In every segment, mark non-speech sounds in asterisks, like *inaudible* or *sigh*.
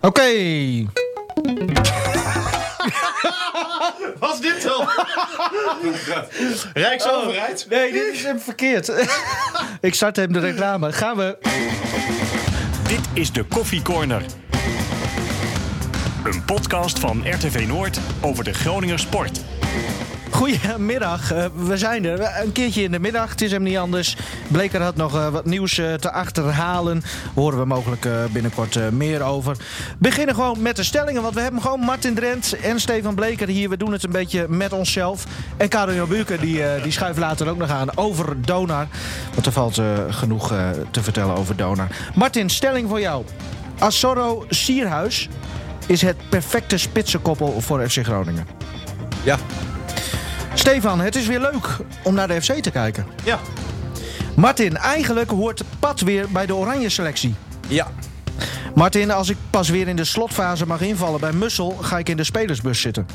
Oké. Was dit *laughs* dan? Rijksoverheid. Oh. Nee, dit is hem verkeerd. *laughs* ik start hem de reclame. Gaan we. Dit is de Koffie Corner. Een podcast van RTV Noord over de Groninger sport. Goedemiddag, eh, we zijn er. We- Een keertje in de middag, het is hem niet anders. Bleker had nog eh, wat nieuws eh, te achterhalen. Horen we mogelijk eh, binnenkort eh, meer over. Beginnen gewoon met de stellingen, want we hebben gewoon Martin Drent en Stefan Bleker hier. We doen het een beetje met onszelf. En Karel Jan Buurken, die, eh, die schuift later ook nog aan over Donar. Want er valt eh, genoeg eh, te vertellen over Donar. Martin, stelling voor jou. Assorro Sierhuis is het perfecte spitsenkoppel voor FC Groningen. Ja. Stefan, het is weer leuk om naar de FC te kijken. Ja. Martin, eigenlijk hoort Pat weer bij de oranje selectie. Ja. Martin, als ik pas weer in de slotfase mag invallen bij Mussel, ga ik in de spelersbus zitten.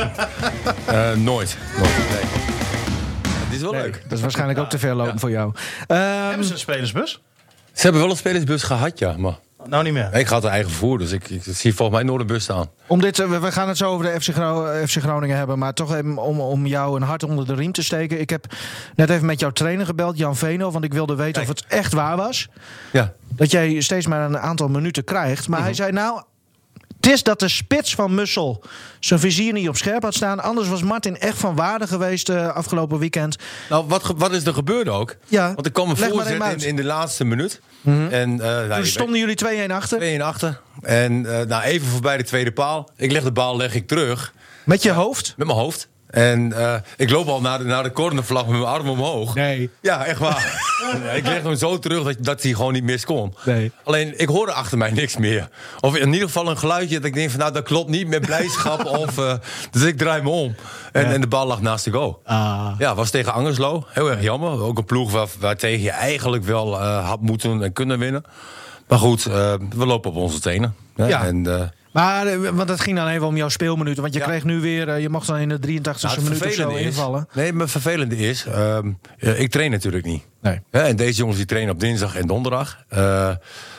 Eh, nooit. Nooit. Nee. Dit is wel leuk. Dat is waarschijnlijk ook te ver lopen voor jou. Ehm, Hebben ze een spelersbus? Ze hebben wel een spelersbus gehad, ja. Maar Nou niet meer. ik had een eigen vervoer, dus ik, ik zie volgens mij nooit een bus staan. om dit, eh, we we gaan het zo over de FC, Gro- FC Groningen hebben, maar toch even om, om jou een hart onder de riem te steken. Ik heb net even met jouw trainer gebeld, Jan Veno, want ik wilde weten of het echt waar was. Ja. dat jij steeds maar een aantal minuten krijgt. Mhm. Maar hij zei nou, het is dat de spits van Mussel zijn vizier niet op scherp had staan. Anders was Martin echt van waarde geweest eh, afgelopen weekend. Nou, wat, ge- wat is er gebeurd ook? Ja, Want er kwam een leg maar voorzet even uit. in, in de laatste minuut. En eh nou, Toen je stonden jullie 2-1 achter. weet, 2-1 achter. En eh, nou, even voorbij de tweede paal. Ik leg de bal leg ik terug Met je hoofd. met mijn hoofd. En eh, ik loop al naar de, naar de cornervlag met mijn arm omhoog. Nee. Ja, echt *laughs* waar. Nee, ik leg hem zo terug dat, dat hij gewoon niet mis kon. Nee. Alleen, ik hoorde achter mij niks meer. Of in ieder geval een geluidje dat ik denk van... nou, dat klopt niet met blijdschap. of, eh, dus ik draai me om. En, en de bal lag naast de goal. Ah. Ja, was tegen Angerslo. Heel erg jammer. Ook een ploeg waar, waartegen je eigenlijk wel eh, had moeten en kunnen winnen. Maar goed, eh, we lopen op onze tenen. hè. Ja. En, eh, Maar eh, want het ging dan even om jouw speelminuten. Want je Ja. kreeg nu weer, eh, je mocht dan in de 83e nou, minuut of zo vervelende is- invallen. Nee, maar het vervelende is, ehm, eh, ik train natuurlijk niet. Nee. Hè, en deze jongens die trainen op dinsdag en donderdag. Eh,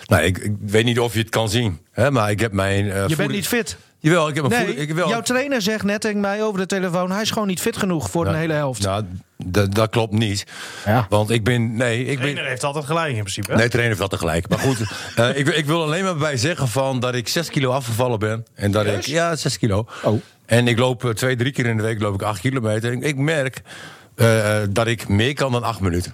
nou, ik, ik weet niet of je het kan zien. Hè, maar ik heb mijn. eh, Je bent voeding- niet fit. Jawel, ik heb mijn Nee, voeding- ik, wel, jouw trainer zegt net tegen mij over de telefoon... hij is gewoon niet fit genoeg voor een hele helft. Nou, d- dat klopt niet. Ja. Want ik ben. Nee, ik De ben. trainer heeft altijd gelijk in principe. hè? Nee, trainer heeft dat tegelijk. Maar goed, *laughs* eh, ik, wil- ik wil alleen maar bij zeggen van dat ik 6 kilo afgevallen ben. En dat ik, ja, 6 kilo. Oh. En ik loop eh, twee, drie keer in de week loop ik 8 kilometer. En ik merk eh, eh, dat ik meer kan dan 8 minuten.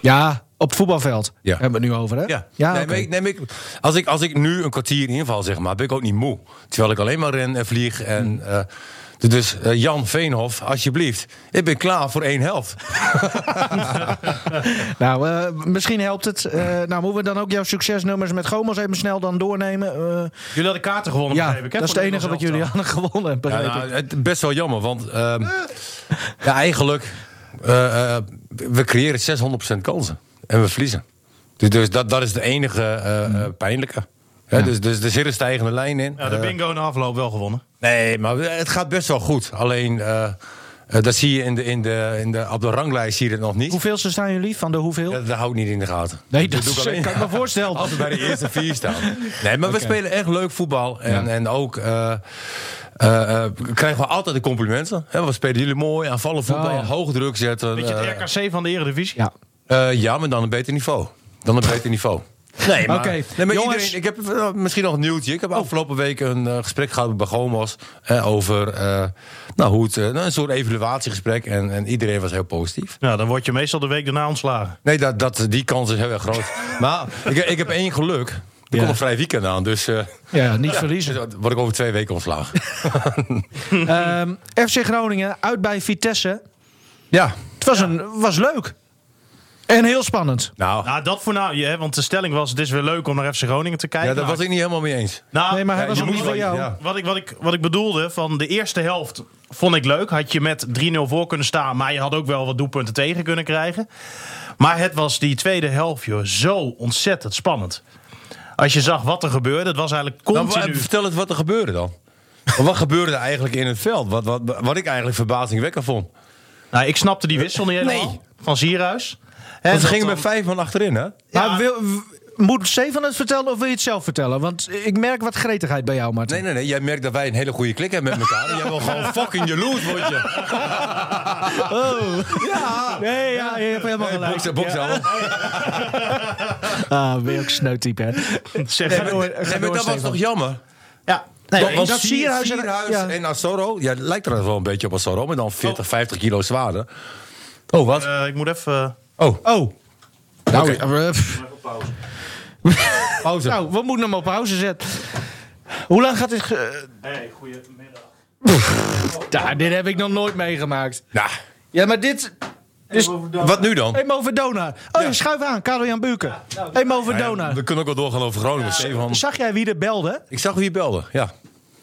Ja, op voetbalveld Ja. hebben we het nu over, hè? Ja, ja nee, oké. maar ik, nee, maar ik, als, ik, als ik nu een kwartier inval, zeg maar, ben ik ook niet moe. Terwijl ik alleen maar ren en vlieg. En, Hm. eh, dus eh, Jan Veenhof, alsjeblieft. Ik ben klaar voor één *laughs* helft. Nou, eh, misschien helpt het. Eh, nou, moeten we dan ook jouw succesnummers met Gomos even snel dan doornemen? Eh, Jullie hadden kaarten gewonnen. ja, begreep ik, hè, dat is voor het de enige wat Nederlands jullie hadden elftal. gewonnen. hebben, Ja, begreep nou, ik. het, best wel jammer, want ehm, ja, eigenlijk, eh, eh, we creëren 600% kansen en we verliezen. Dus, dus dat, dat is de enige eh, Hm. eh, pijnlijke. Hè, dus, dus er zit een stijgende lijn in. Ja, de Eh, bingo na afloop wel gewonnen. Nee, maar het gaat best wel goed. Alleen, eh, eh, dat zie je in de, in de, in de, op de ranglijst zie je het nog niet. Hoeveelste staan jullie van de hoeveel? Dat, dat hou ik niet in de gaten. Dus nee, dat, doe ik is- *laughs* alleen. kan ik me *laughs* voorstellen. Als we bij de eerste vier staan. Nee, maar we spelen echt leuk voetbal. En, en ook eh, eh, eh, krijgen we altijd de complimenten. Hè, we spelen jullie mooi, aanvallen voetbal, Oh, ja. hoog druk zetten. Beetje eh, het RKC van de Eredivisie. Ja. eh, ja, maar dan een beter niveau. Dan een beter niveau. Nee, maar, Oké, nee, maar jongens. Oh. iedereen, ik heb eh, misschien nog een nieuwtje. Ik heb afgelopen week een eh, gesprek gehad bij Gomos eh, over eh, nou, hoe het, eh, nou, een soort evaluatiegesprek. En, en iedereen was heel positief. Nou, dan word je meestal de week daarna ontslagen. Nee, dat, dat, die kans is heel erg groot. *laughs* maar ik, ik heb één geluk. Er komt een vrij weekend aan, dus eh, Ja, niet verliezen. dus word ik over twee *laughs* weken ontslagen. Ehm, FC Groningen, uit bij Vitesse. ja, Het was, een, was leuk. En heel spannend. nou, Nou, dat voor nou, ja, want de stelling was: het is weer leuk om naar FC Groningen te kijken. ja, daar was ik niet helemaal mee eens. Nou, Nee, maar hij Ja, was je ook moet niet voor wel- jou. ja. Wat ik, wat, ik, wat ik bedoelde, van de eerste helft vond ik leuk. Had je met 3-0 voor kunnen staan, maar je had ook wel wat doelpunten tegen kunnen krijgen. Maar het was die tweede helft, joh, zo ontzettend spannend. Als je zag wat er gebeurde, het was eigenlijk Nou, Dan, Nou, wa- continu... vertel het wat er gebeurde dan. wat gebeurde er eigenlijk in het veld? Wat, wat, wat ik eigenlijk verbazingwekkend vond. Nou, ik snapte die wissel niet helemaal Nee. van Sierhuis. En En ze dat gingen dan- met vijf man achterin, hè? Ja. Maar wil, w- moet Stefan het vertellen of wil je het zelf vertellen? Want ik merk wat gretigheid bij jou, Martin. Nee, nee, nee. Jij merkt dat wij een hele goede klik hebben met *laughs* elkaar. En Jij wil gewoon fucking jaloers, word *laughs* je. Ja, nee, ja, je hebt helemaal Hey, gelijk. boksen, boksen. Ja. Oh. allemaal. Ah, ben je ook sneutype, hè? Zeg, Nee, ga door. maar- nee, maar dat was toch jammer? Ja, nee, Want- want dat Sier- Sierhuis en- Sierhuis ja. en Asoro, ja, Oh. het lijkt er wel een beetje op Asoro, maar dan 40, 50 kilo zwaarder. Oh, wat? eh, ik moet even... eh, oh, Oh. Nou, eh, pff. pauze. nou, we moeten hem op pauze zetten. Hoe lang gaat dit... ge- Hey, goedemiddag. Daar, dit heb ik nog nooit meegemaakt. Nou, Ja, maar dit... Dus wat nu dan? Emo Verdona. Oh, je schuif aan, Karel-Jan Buurken. Emo Nou ja, Verdona. we kunnen ook wel doorgaan over Groningen. Stefan. Zag jij wie er belde? Ik zag wie je belde, ja.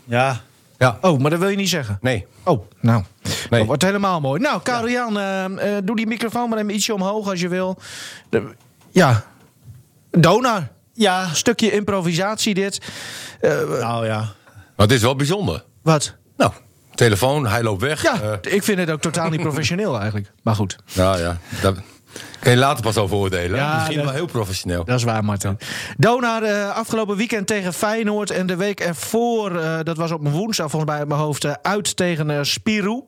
Ja. Ja, Oh, maar dat wil je niet zeggen. nee. Oh, nou. Nee. Dat wordt helemaal mooi. Nou, Karel-Jan, eh, eh, doe die microfoon maar even ietsje omhoog als je wil. De- ja. Donar. Ja. Stukje improvisatie dit. Nou ja. Maar het is wel bijzonder. Wat? Nou, telefoon, hij loopt weg. Ja, eh, ik vind het ook totaal niet professioneel *laughs* eigenlijk. Maar goed, nou ja, daar kan je later pas over oordelen. Ja, Misschien dat- wel heel professioneel. dat is waar, Martin. Donar eh, afgelopen weekend tegen Feyenoord. En de week ervoor, eh, dat was op een woensdag volgens mij uit mijn hoofd, eh, uit tegen eh, Spirou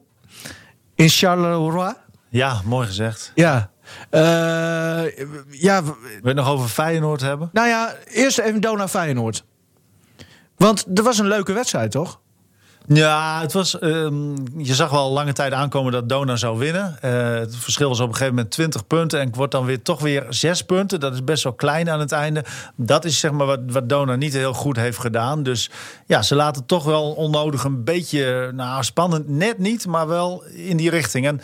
in Charleroi. Ja, mooi gezegd. Ja. Eh, ja, w- Wil je het nog over Feyenoord hebben? nou ja, eerst even Donar Feyenoord. Want er was een leuke wedstrijd, toch? Ja, het was, ehm, je zag wel lange tijd aankomen dat Dona zou winnen. Eh, het verschil was op een gegeven moment 20 punten en het wordt dan weer toch weer 6 punten. Dat is best wel klein aan het einde. Dat is zeg maar wat, wat Dona niet heel goed heeft gedaan. Dus ja, ze laten toch wel onnodig een beetje nou, spannend. Net niet, maar wel in die richting. En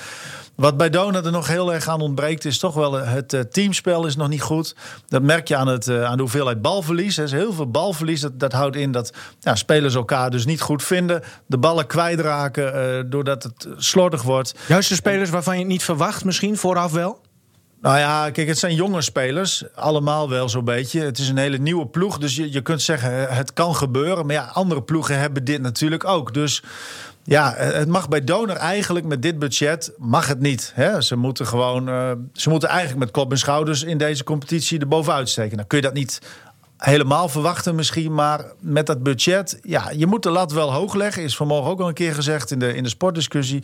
wat bij Dona er nog heel erg aan ontbreekt, is toch wel het eh, teamspel is nog niet goed. Dat merk je aan, het, eh, aan de hoeveelheid balverlies. Er is heel veel balverlies. Dat, dat houdt in dat ja, spelers elkaar dus niet goed vinden. De ballen kwijtraken eh, doordat het slordig wordt. Juist de spelers waarvan je het niet verwacht, misschien vooraf wel. Nou ja, kijk, het zijn jonge spelers. Allemaal wel zo'n beetje. Het is een hele nieuwe ploeg. Dus je, je kunt zeggen, eh, het kan gebeuren. Maar ja, andere ploegen hebben dit natuurlijk ook. Dus ja, eh, het mag bij Donor eigenlijk met dit budget, mag het niet. Hè? Ze moeten gewoon, eh, ze moeten eigenlijk met kop en schouders in deze competitie er bovenuit steken. Dan kun je dat niet helemaal verwachten misschien, maar met dat budget, ja, je moet de lat wel hoog leggen. Is vanmorgen ook al een keer gezegd in de, in de sportdiscussie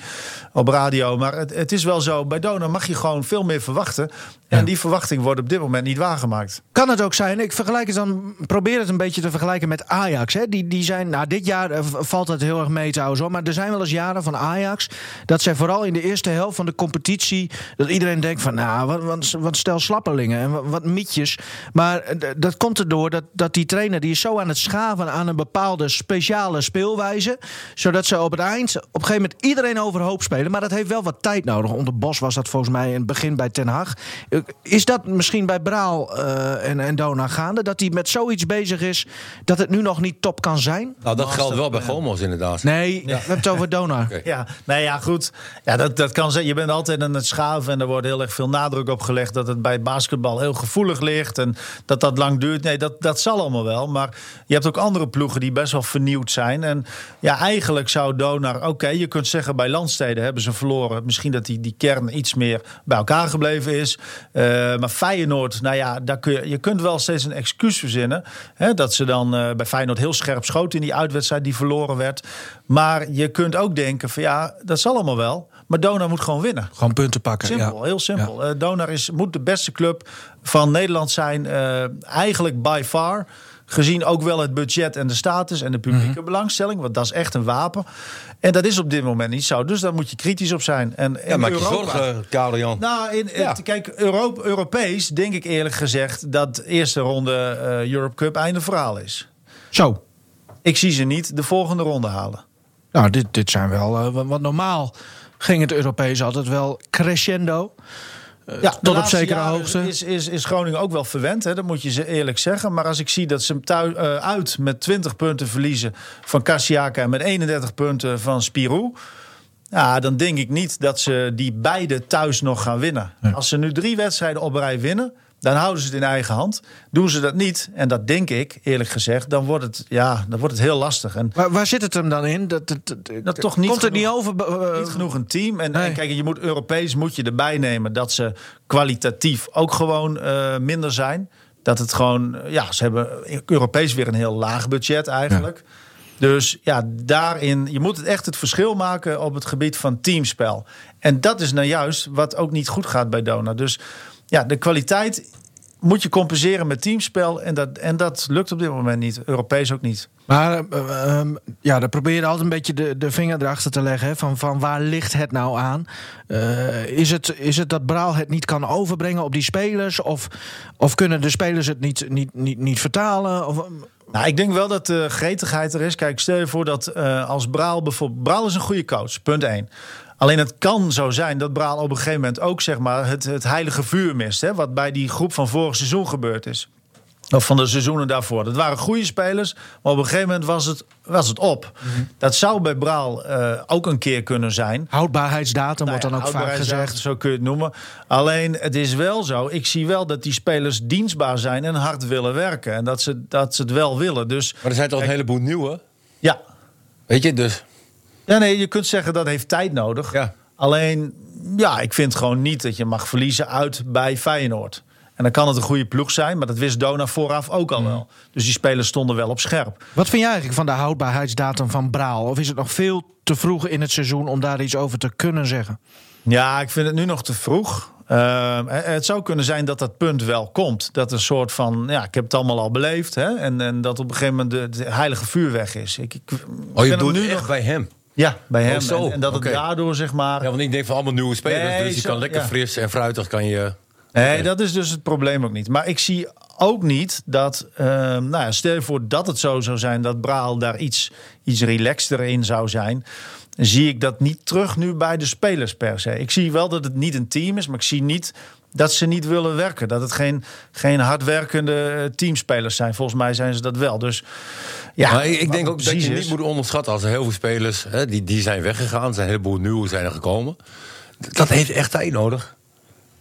op radio. Maar het, het is wel zo, bij Dona mag je gewoon veel meer verwachten. En die verwachting wordt op dit moment niet waargemaakt. Kan het ook zijn, ik vergelijk het dan, probeer het een beetje te vergelijken met Ajax. Hè? Die, die zijn, nou dit jaar eh, v- valt het heel erg mee trouwens hoor, maar er zijn wel eens jaren van Ajax... dat zij vooral in de eerste helft van de competitie, dat iedereen denkt van... nou, wat, wat, wat stel slappelingen en wat, wat mietjes. Maar eh, d- dat komt erdoor dat, dat die trainer, die is zo aan het schaven aan een bepaalde speciale speelwijze... zodat ze op het eind op een gegeven moment iedereen overhoop spelen. Maar dat heeft wel wat tijd nodig. Onder Bos was dat volgens mij in het begin bij Ten Haag. Eh, Is dat misschien bij Braal eh, en, en Dona gaande? Dat hij met zoiets bezig is dat het nu nog niet top kan zijn? Nou, dat geldt wel bij Gomos inderdaad. Nee, we hebben het over Dona. Ja, nou ja, goed. Ja, dat, dat kan zijn. Je bent altijd aan het schaven en er wordt heel erg veel nadruk op gelegd dat het bij basketbal heel gevoelig ligt en dat dat lang duurt. Nee, dat, dat zal allemaal wel. Maar je hebt ook andere ploegen die best wel vernieuwd zijn. En ja, eigenlijk zou Donar, oké, je kunt zeggen bij landsteden hebben ze verloren. Misschien dat die, die kern iets meer bij elkaar gebleven is. Eh, maar Feyenoord, nou ja, daar kun je, je kunt wel steeds een excuus verzinnen. Hè, dat ze dan eh, bij Feyenoord heel scherp schoten in die uitwedstrijd die verloren werd. Maar je kunt ook denken van ja, dat zal allemaal wel. Maar Donar moet gewoon winnen. Gewoon punten pakken. Simpel, heel simpel. Eh, Donar is, moet de beste club van Nederland zijn. eh, eigenlijk by far. Gezien ook wel het budget en de status en de publieke Mhm. belangstelling. Want dat is echt een wapen. En dat is op dit moment niet zo. Dus daar moet je kritisch op zijn. En, Ja, en maak je Europa- zorgen, Karel Jan. nou, in, Ja. het- kijk, Europe, Europees denk ik eerlijk gezegd dat eerste ronde eh, Europe Cup einde verhaal is. Zo. Ik zie ze niet de volgende ronde halen. Nou, dit, dit zijn wel... eh, wa- want normaal ging het Europees altijd wel crescendo. Eh, Ja, tot de op Eh, laatste zekere jaren hoogte. Is, is, is Groningen ook wel verwend, hè? dat moet je ze eerlijk zeggen. Maar als ik zie dat ze thui- eh, uit met 20 punten verliezen van Cassiaka en met 31 punten van Spirou. Ja, dan denk ik niet dat ze die beide thuis nog gaan winnen. Als ze nu drie wedstrijden op rij winnen, dan houden ze het in eigen hand. Doen ze dat niet, en dat denk ik eerlijk gezegd, dan wordt het, ja, dan wordt het heel lastig. En Waar, waar zit het hem dan in? Dat, dat, dat- Dat toch niet komt het niet genoeg- over? eh, niet genoeg een team. En, Nee. en kijk, je moet Europees moet je erbij nemen dat ze kwalitatief ook gewoon eh, minder zijn. Dat het gewoon, ja, ze hebben Europees weer een heel laag budget eigenlijk. Dus ja, daarin, je moet het echt het verschil maken op het gebied van teamspel. En dat is nou juist wat ook niet goed gaat bij Dona. Dus ja, de kwaliteit moet je compenseren met teamspel. En dat, en dat lukt op dit moment niet. Europees ook niet. Maar eh, ehm, ja, dan probeer je altijd een beetje de, de vinger erachter te leggen. hè, Van, van waar ligt het nou aan? Eh, is, het, is het dat Braal het niet kan overbrengen op die spelers? Of, of kunnen de spelers het niet, niet, niet, niet vertalen? Of, ehm, Nou, ik denk wel dat de gretigheid er is. Kijk, stel je voor dat eh, als Braal bijvoorbeeld... Braal is een goede coach, punt 1. Alleen het kan zo zijn dat Braal op een gegeven moment ook zeg maar, het, het heilige vuur mist. Hè, wat bij die groep van vorig seizoen gebeurd is. Of van de seizoenen daarvoor. Dat waren goede spelers, maar op een gegeven moment was het, was het op. Mhm. Dat zou bij Braal eh, ook een keer kunnen zijn. houdbaarheidsdatum wordt dan Nou ook ja, vaak houdbaarheidsdatum, gezegd. Zo kun je het noemen. Alleen het is wel zo. Ik zie wel dat die spelers dienstbaar zijn en hard willen werken. En dat ze, dat ze het wel willen. Dus Maar er zijn toch een heleboel nieuwe. ja. Weet je, dus. ja, nee, je kunt zeggen dat heeft tijd nodig. Ja. Alleen, ja, ik vind gewoon niet dat je mag verliezen uit bij Feyenoord. En dan kan het een goede ploeg zijn, maar dat wist Dona vooraf ook Mm. al wel. Dus die spelers stonden wel op scherp. Wat vind jij eigenlijk van de houdbaarheidsdatum van Braal? Of is het nog veel te vroeg in het seizoen om daar iets over te kunnen zeggen? Ja, ik vind het nu nog te vroeg. Eh, het zou kunnen zijn dat dat punt wel komt. Dat een soort van, ja, ik heb het allemaal al beleefd. Hè? En, en dat op een gegeven moment de, de heilige vuur weg is. Ik, ik, ik Oh, vind je hem doet nu nu echt bij hem. Ja, bij hem. zo, en, en dat het oké. daardoor, zeg maar... Ja, want ik denk van allemaal nieuwe spelers. Nee, dus je zo- kan lekker ja. fris en fruitig kan je. Nee, dat is dus het probleem ook niet. Maar ik zie ook niet dat, ehm, nou ja, stel je voor dat het zo zou zijn dat Braal daar iets, iets relaxter in zou zijn. Zie ik dat niet terug nu bij de spelers per se. Ik zie wel dat het niet een team is, maar ik zie niet dat ze niet willen werken. Dat het geen, geen hardwerkende eh, teamspelers zijn. Volgens mij zijn ze dat wel. Dus ja, maar ik, ik wat denk het ook dat precies je is- niet moet onderschatten als er heel veel spelers hè, die, die zijn weggegaan, er zijn een heleboel nieuwe zijn er gekomen. D- Dat heeft echt tijd nodig.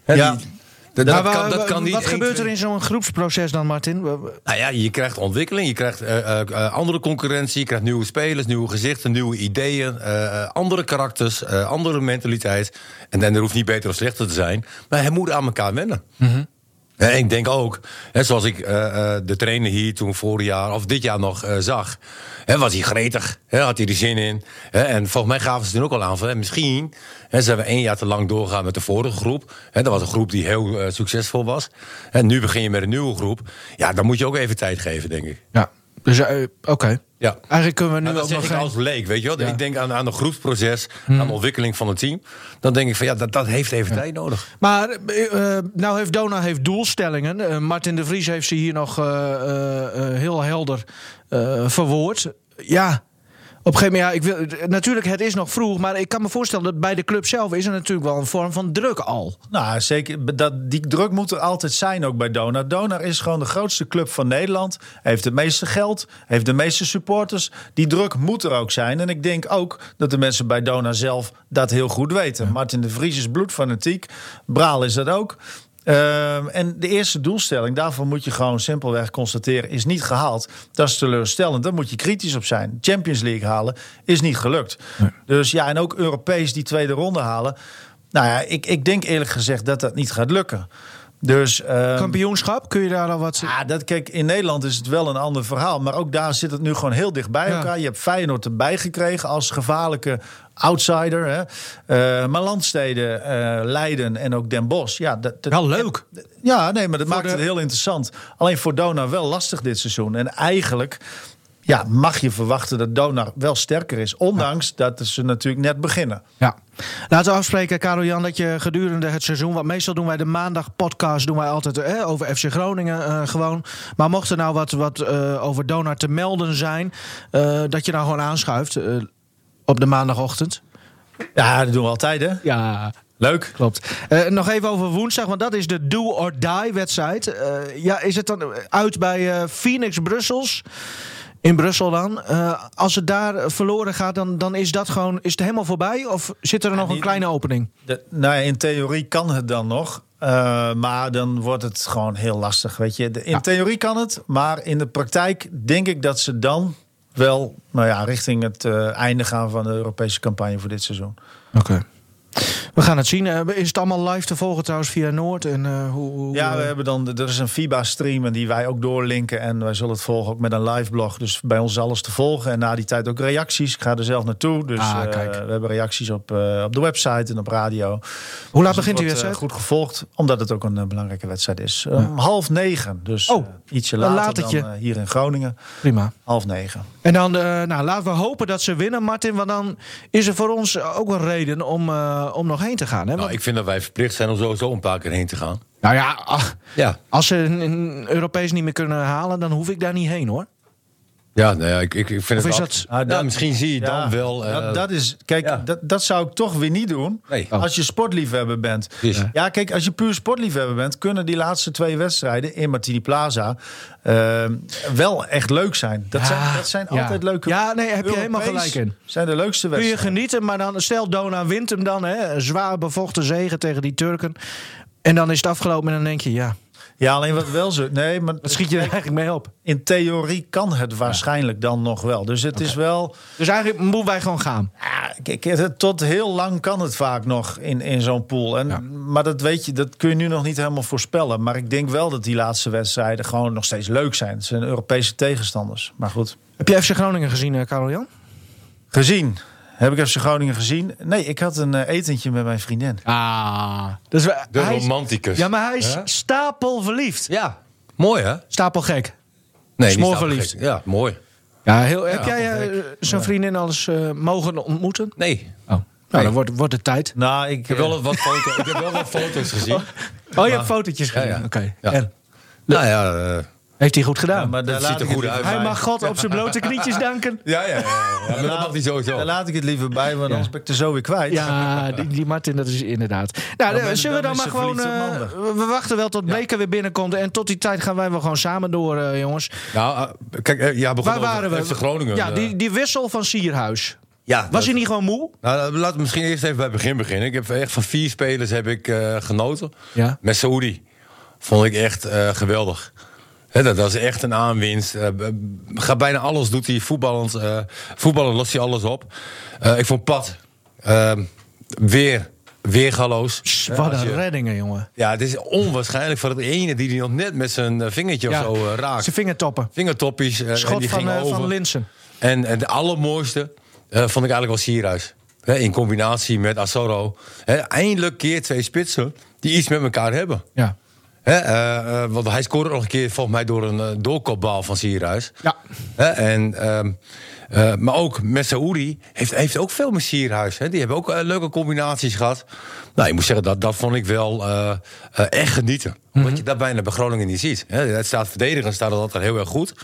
Hè, Ja. die- d- dat, Nou, Maar kan, wa- dat wa- kan niet. wat één, gebeurt twee- er in zo'n groepsproces dan, Martin? We- we- Nou ja, je krijgt ontwikkeling, je krijgt eh, eh, eh, andere concurrentie, je krijgt nieuwe spelers, nieuwe gezichten, nieuwe ideeën, eh, eh, andere karakters, eh, andere mentaliteit. En dan er hoeft niet beter of slechter te zijn, maar hij moet aan elkaar wennen. En ik denk ook, hè, zoals ik eh, eh, de trainer hier toen vorig jaar of dit jaar nog eh, zag, hè, was hij gretig, hè, had hij er zin in. Hè, en volgens mij gaven ze toen ook al aan van hè, misschien hè, zijn we één jaar te lang doorgaan met de vorige groep. Hè, dat was een groep die heel eh, succesvol was. En nu begin je met een nieuwe groep. Ja, dan moet je ook even tijd geven, denk ik. Ja, dus eh, oké. Ja. Eigenlijk kunnen we nu Nou, dat ook zeg nog ik geen- Hmm. als leek, weet je wel. Ik denk aan, aan een groepsproces, aan de ontwikkeling van het team. Dan denk ik van ja, dat, dat heeft even tijd nodig. Maar eh, eh, nou heeft Dona heeft doelstellingen. Eh, Martin de Vries heeft ze hier nog eh, eh, eh, heel helder eh, verwoord. Ja, op een gegeven moment, ja, ik wil, eh, natuurlijk het is nog vroeg, maar ik kan me voorstellen dat bij de club zelf is er natuurlijk wel een vorm van druk al. Nou, zeker. Dat, die druk moet er altijd zijn ook bij Donar. Donar is gewoon de grootste club van Nederland. Hij heeft het meeste geld, hij heeft de meeste supporters. Die druk moet er ook zijn. En ik denk ook dat de mensen bij Donar zelf dat heel goed weten. Martin de Vries is bloedfanatiek. Braal is dat ook. Ehm, en de eerste doelstelling, daarvan moet je gewoon simpelweg constateren, is niet gehaald. Dat is teleurstellend, daar moet je kritisch op zijn. Champions League halen is niet gelukt. Dus ja, en ook Europees die tweede ronde halen. Nou ja, ik, ik denk eerlijk gezegd dat dat niet gaat lukken. Dus ehm, Kampioenschap, kun je daar al wat... ja, dat, kijk, in Nederland is het wel een ander verhaal. Maar ook daar zit het nu gewoon heel dicht bij Ja. elkaar. Je hebt Feyenoord erbij gekregen als gevaarlijke outsider. Hè. Eh, maar landsteden, eh, Leiden en ook Den Bosch. Ja, dat, dat- Wel leuk. ja, nee, maar dat maakt de- het heel interessant. Alleen voor Donar wel lastig dit seizoen. En eigenlijk ja, mag je verwachten dat Donar wel sterker is. Ondanks dat ze natuurlijk net beginnen. Ja. Laten we afspreken, Karel Jan, dat je gedurende het seizoen... want meestal doen wij de maandag podcast doen wij altijd eh, over FC Groningen eh, gewoon. Maar mocht er nou wat, wat eh, over Donar te melden zijn... eh, dat je nou gewoon aanschuift eh, op de maandagochtend. Ja, dat doen we altijd, hè? Ja, Leuk. klopt. Eh, nog even over woensdag, want dat is de do-or-die-wedstrijd. Eh, ja, is het dan uit bij eh, Phoenix Brussels... In Brussel dan. Eh, als het daar verloren gaat, dan, dan is dat gewoon. Is het helemaal voorbij? Of zit er nog een die- kleine opening? De- nou ja, in theorie kan het dan nog. eh, maar dan wordt het gewoon heel lastig. Weet je. De- in theorie kan het, maar in de praktijk denk ik dat ze dan wel nou ja, richting het eh, einde gaan van de Europese campagne voor dit seizoen. Oké. We gaan het zien. Eh, Is het allemaal live te volgen trouwens via Noord? En, eh, hoe, hoe- Ja, we eh, hebben dan, er is een FIBA-stream en die wij ook doorlinken. En wij zullen het volgen ook met een live blog. Dus bij ons is alles te volgen. En na die tijd ook reacties. Ik ga er zelf naartoe. Dus Ah, eh, kijk. we hebben reacties op, eh, op de website en op radio. hoe laat Dus het begint die wordt, eh, wedstrijd? goed gevolgd, omdat het ook een eh, belangrijke wedstrijd is. Om half negen, dus Oh, eh, ietsje een later latertje. dan eh, hier in Groningen. Prima. Half negen. En dan, eh, nou, laten we hopen dat ze winnen, Martin. Want dan is er voor ons ook een reden om, eh, om nog heen te gaan. Hè? Want- Nou, ik vind dat wij verplicht zijn om sowieso een paar keer heen te gaan. nou ja, ach, Ja, als ze een, een Europees niet meer kunnen halen, dan hoef ik daar niet heen hoor. ja, nou ja ik, ik, ik vind Of het is wel- dat- Nou, Ah, dat- misschien zie je Ja, dan wel... eh, dat, dat is, kijk, ja. dat, dat zou ik toch weer niet doen. Nee. Oh. Als je sportliefhebber bent. Precies. Ja, kijk, als je puur sportliefhebber bent, kunnen die laatste twee wedstrijden in Martini Plaza eh, wel echt leuk zijn. Dat Ja, zijn, dat zijn ja. altijd leuke Ja, nee, heb je helemaal Europees gelijk in. Zijn de leukste Kun je wedstrijden. genieten, maar dan stel Dona wint hem dan. Hè, een zwaar bevochten zegen tegen die Turken. En dan is het afgelopen en dan denk je, ja, Ja, alleen wat wel zo. Nee, maar wat schiet je er eigenlijk mee op? in theorie kan het waarschijnlijk dan nog wel. Dus het is wel. Dus eigenlijk moeten wij gewoon gaan. Ja, kijk, het- tot heel lang kan het vaak nog in, in zo'n pool. En, Maar dat weet je, dat kun je nu nog niet helemaal voorspellen. Maar ik denk wel dat die laatste wedstrijden gewoon nog steeds leuk zijn. Het zijn Europese tegenstanders. Maar goed. Heb je FC Groningen gezien, eh, Karel-Jan? Gezien. Heb ik FC Groningen gezien? Nee, ik had een eh, etentje met mijn vriendin. Ah. Dus we, de hij is- romanticus. Ja, maar hij is Ja. stapelverliefd. Ja, mooi hè? Stapelgek. Nee, Smoor niet snap ik verliefd. gek. Ja, mooi. Ja, heel, heb jij eh, stapelgek. zijn vriendin alles eh, mogen ontmoeten? Nee, ik Oh. Nou, dan wordt, wordt het tijd. Nou, ik, heb eh, wel wat, foto, ik heb wel wat foto's gezien. Oh, je hebt fotootjes Ja, gezien. ja. Oké. Ja. En? Nou ja, eh, Heeft hij goed gedaan? maar daar ziet laat er ik het goed liever uit. bij. hij mag God op zijn blote knietjes danken. ja, ja, ja, ja, ja, maar dat mag niet Daar sowieso. laat ik het liever bij, want anders ben ik er zo weer kwijt. Ja, die, die Martin, dat is inderdaad. Nou, ben- zullen we dan maar dan is ze gewoon... verliefd op eh, we we wachten wel tot Bleker weer binnenkomt. En tot die tijd gaan wij wel gewoon samen door, eh, jongens. Nou, eh, kijk, eh, ja, begon Waar waren we? FC Groningen. Ja, eh, die, die wissel van Sierhuis. ja, Was dat- hij niet gewoon moe? Nou, laten we misschien eerst even bij het begin beginnen. Ik heb echt van vier spelers heb ik eh, genoten. Ja. Met Saoedi vond ik echt eh, geweldig. Hè, dat, dat is echt een aanwinst. Eh, b- b- gaat bijna alles, doet hij voetballend. eh voetballend lost hij alles op. Eh, ik vond Pat eh, weer, weer galoos. Pss, Hè, Wat als een je- reddingen, jongen. Ja, het is onwaarschijnlijk voor het ene die hij nog net met zijn eh, vingertje Ja, of zo eh, raakt. Zijn vingertoppen. Vingertoppies. eh, en Schot die van, ging eh, over. van Linsen. En, en de allermooiste eh, vond ik eigenlijk wel Sierhuis. Hè, in combinatie met Asoro. Hè, eindelijk keer twee spitsen die iets met elkaar hebben. Ja. Hè, eh, eh, want hij scoorde nog een keer volgens mij door een eh, doorkopbal van Sierhuis. Ja. Hè, en, ehm, eh, maar ook met Saoedi heeft, heeft ook veel met Sierhuis. Hè. Die hebben ook eh, leuke combinaties gehad. Nou, ik moet zeggen, dat, dat vond ik wel eh, eh, echt genieten. Mhm. Omdat je dat bijna bij Groningen niet ziet. Hè. Het staat verdedigend, staat dat altijd heel erg goed.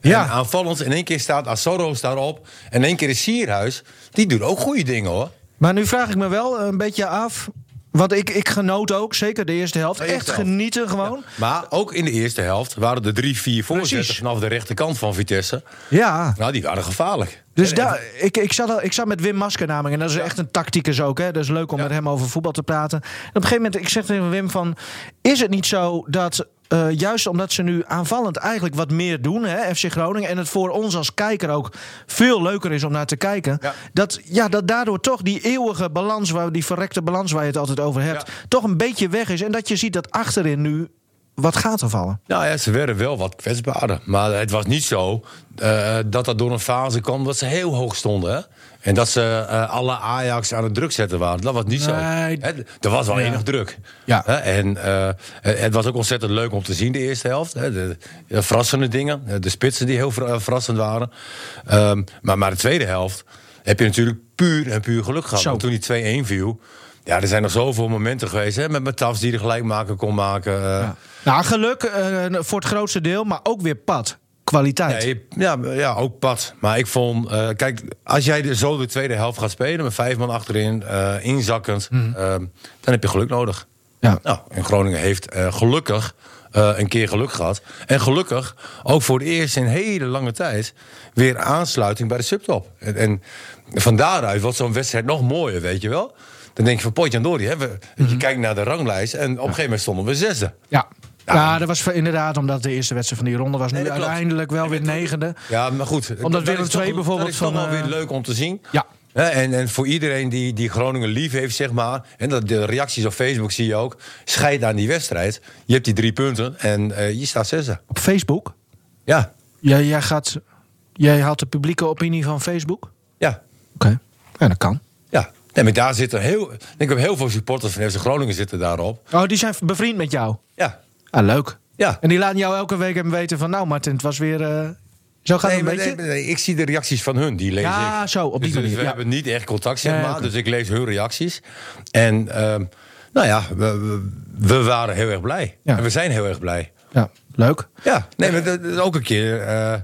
Ja. En aanvallend, in één keer staat Asoro daarop. En in één keer is Sierhuis. Die doet ook goede dingen hoor. Maar nu vraag ik me wel eh, een beetje af. Want ik, ik genoot ook, zeker de eerste helft. De Echt eerste helft. genieten gewoon. Maar ook in de eerste helft waren er drie, vier voorzetten Precies. vanaf de rechterkant van Vitesse. Ja. Nou, die waren gevaarlijk. Dus daar, ik, ik, zat al, ik zat met Wim Masker namelijk. En dat is echt een tacticus ook. Hè? Dat is leuk om met hem over voetbal te praten. En op een gegeven moment, ik zeg tegen Wim van... Is het niet zo dat... eh, juist omdat ze nu aanvallend eigenlijk wat meer doen, hè, FC Groningen... en het voor ons als kijker ook veel leuker is om naar te kijken... Ja. Dat, ja, dat daardoor toch die eeuwige balans, waar, die verrekte balans waar je het altijd over hebt... Ja. toch een beetje weg is. En dat je ziet dat achterin nu wat gaat er vallen. Nou ja, ze werden wel wat kwetsbaarder. Maar het was niet zo eh, dat dat door een fase kwam dat ze heel hoog stonden. Hè? En dat ze eh, alle Ajax aan het druk zetten waren. Dat was niet zo. Nee. Hè, er was wel enig druk. Ja. Hè, en eh, het was ook ontzettend leuk om te zien de eerste helft. Hè? De, de verrassende dingen. eh, De spitsen die heel ver- eh, verrassend waren. Ehm, maar, maar de tweede helft heb je natuurlijk puur en puur geluk gehad. Zo. Want toen die 2-1 viel... Ja, er zijn nog zoveel momenten geweest. Hè? Met Matafs die de gelijkmaker kon maken. eh, Nou, geluk eh, voor het grootste deel, maar ook weer pad. Kwaliteit. Nee, ja, ja, ook pad. Maar ik vond, eh, kijk, als jij de, zo de tweede helft gaat spelen met vijf man achterin, eh, inzakkend, eh, dan heb je geluk nodig. Ja. Nou, en Groningen heeft eh, gelukkig eh, een keer geluk gehad. En gelukkig ook voor het eerst in hele lange tijd weer aansluiting bij de subtop. En, en van daaruit wordt zo'n wedstrijd nog mooier, weet je wel. Dan denk je van Potjandori, hè, we, je kijkt naar de ranglijst en op een gegeven moment stonden we zesde. Ja. Ja, dat was voor- inderdaad omdat de eerste wedstrijd van die ronde was. Nu Nee, dat klopt. uiteindelijk wel weer negende. Ja, maar goed. Willem dat is toch- II bijvoorbeeld Dat is toch van, wel weer eh, leuk om te zien. Ja. Hè, Hè, en, en voor iedereen die, die Groningen lief heeft, zeg maar. En dat, de reacties op Facebook zie je ook. Scheid aan die wedstrijd. Je hebt die drie punten en eh, je staat zesde. Op Facebook? Ja, Jij, jij, gaat, jij haalt de publieke opinie van Facebook? Oké. ja, Ja, dat kan. ja. Nee, maar daar zitten heel, ik denk dat heel veel supporters van FC Groningen zitten daarop. Oh, die zijn bevriend met jou? Ja, Ah, leuk. ja. En die laten jou elke week even weten van... Nou Martin, het was weer... eh, zo gaat Nee, het een maar beetje? nee, nee, ik zie de reacties van hun, die lees Ja, ik. zo, op die dus, dus manier, we ja. hebben niet echt contact, zeg Ja, maar. oké. Dus ik lees hun reacties. En ehm, nou ja, we, we, we waren heel erg blij. Ja. En we zijn heel erg blij. Ja, leuk. Ja, nee, maar dat, dat is ook een keer. eh,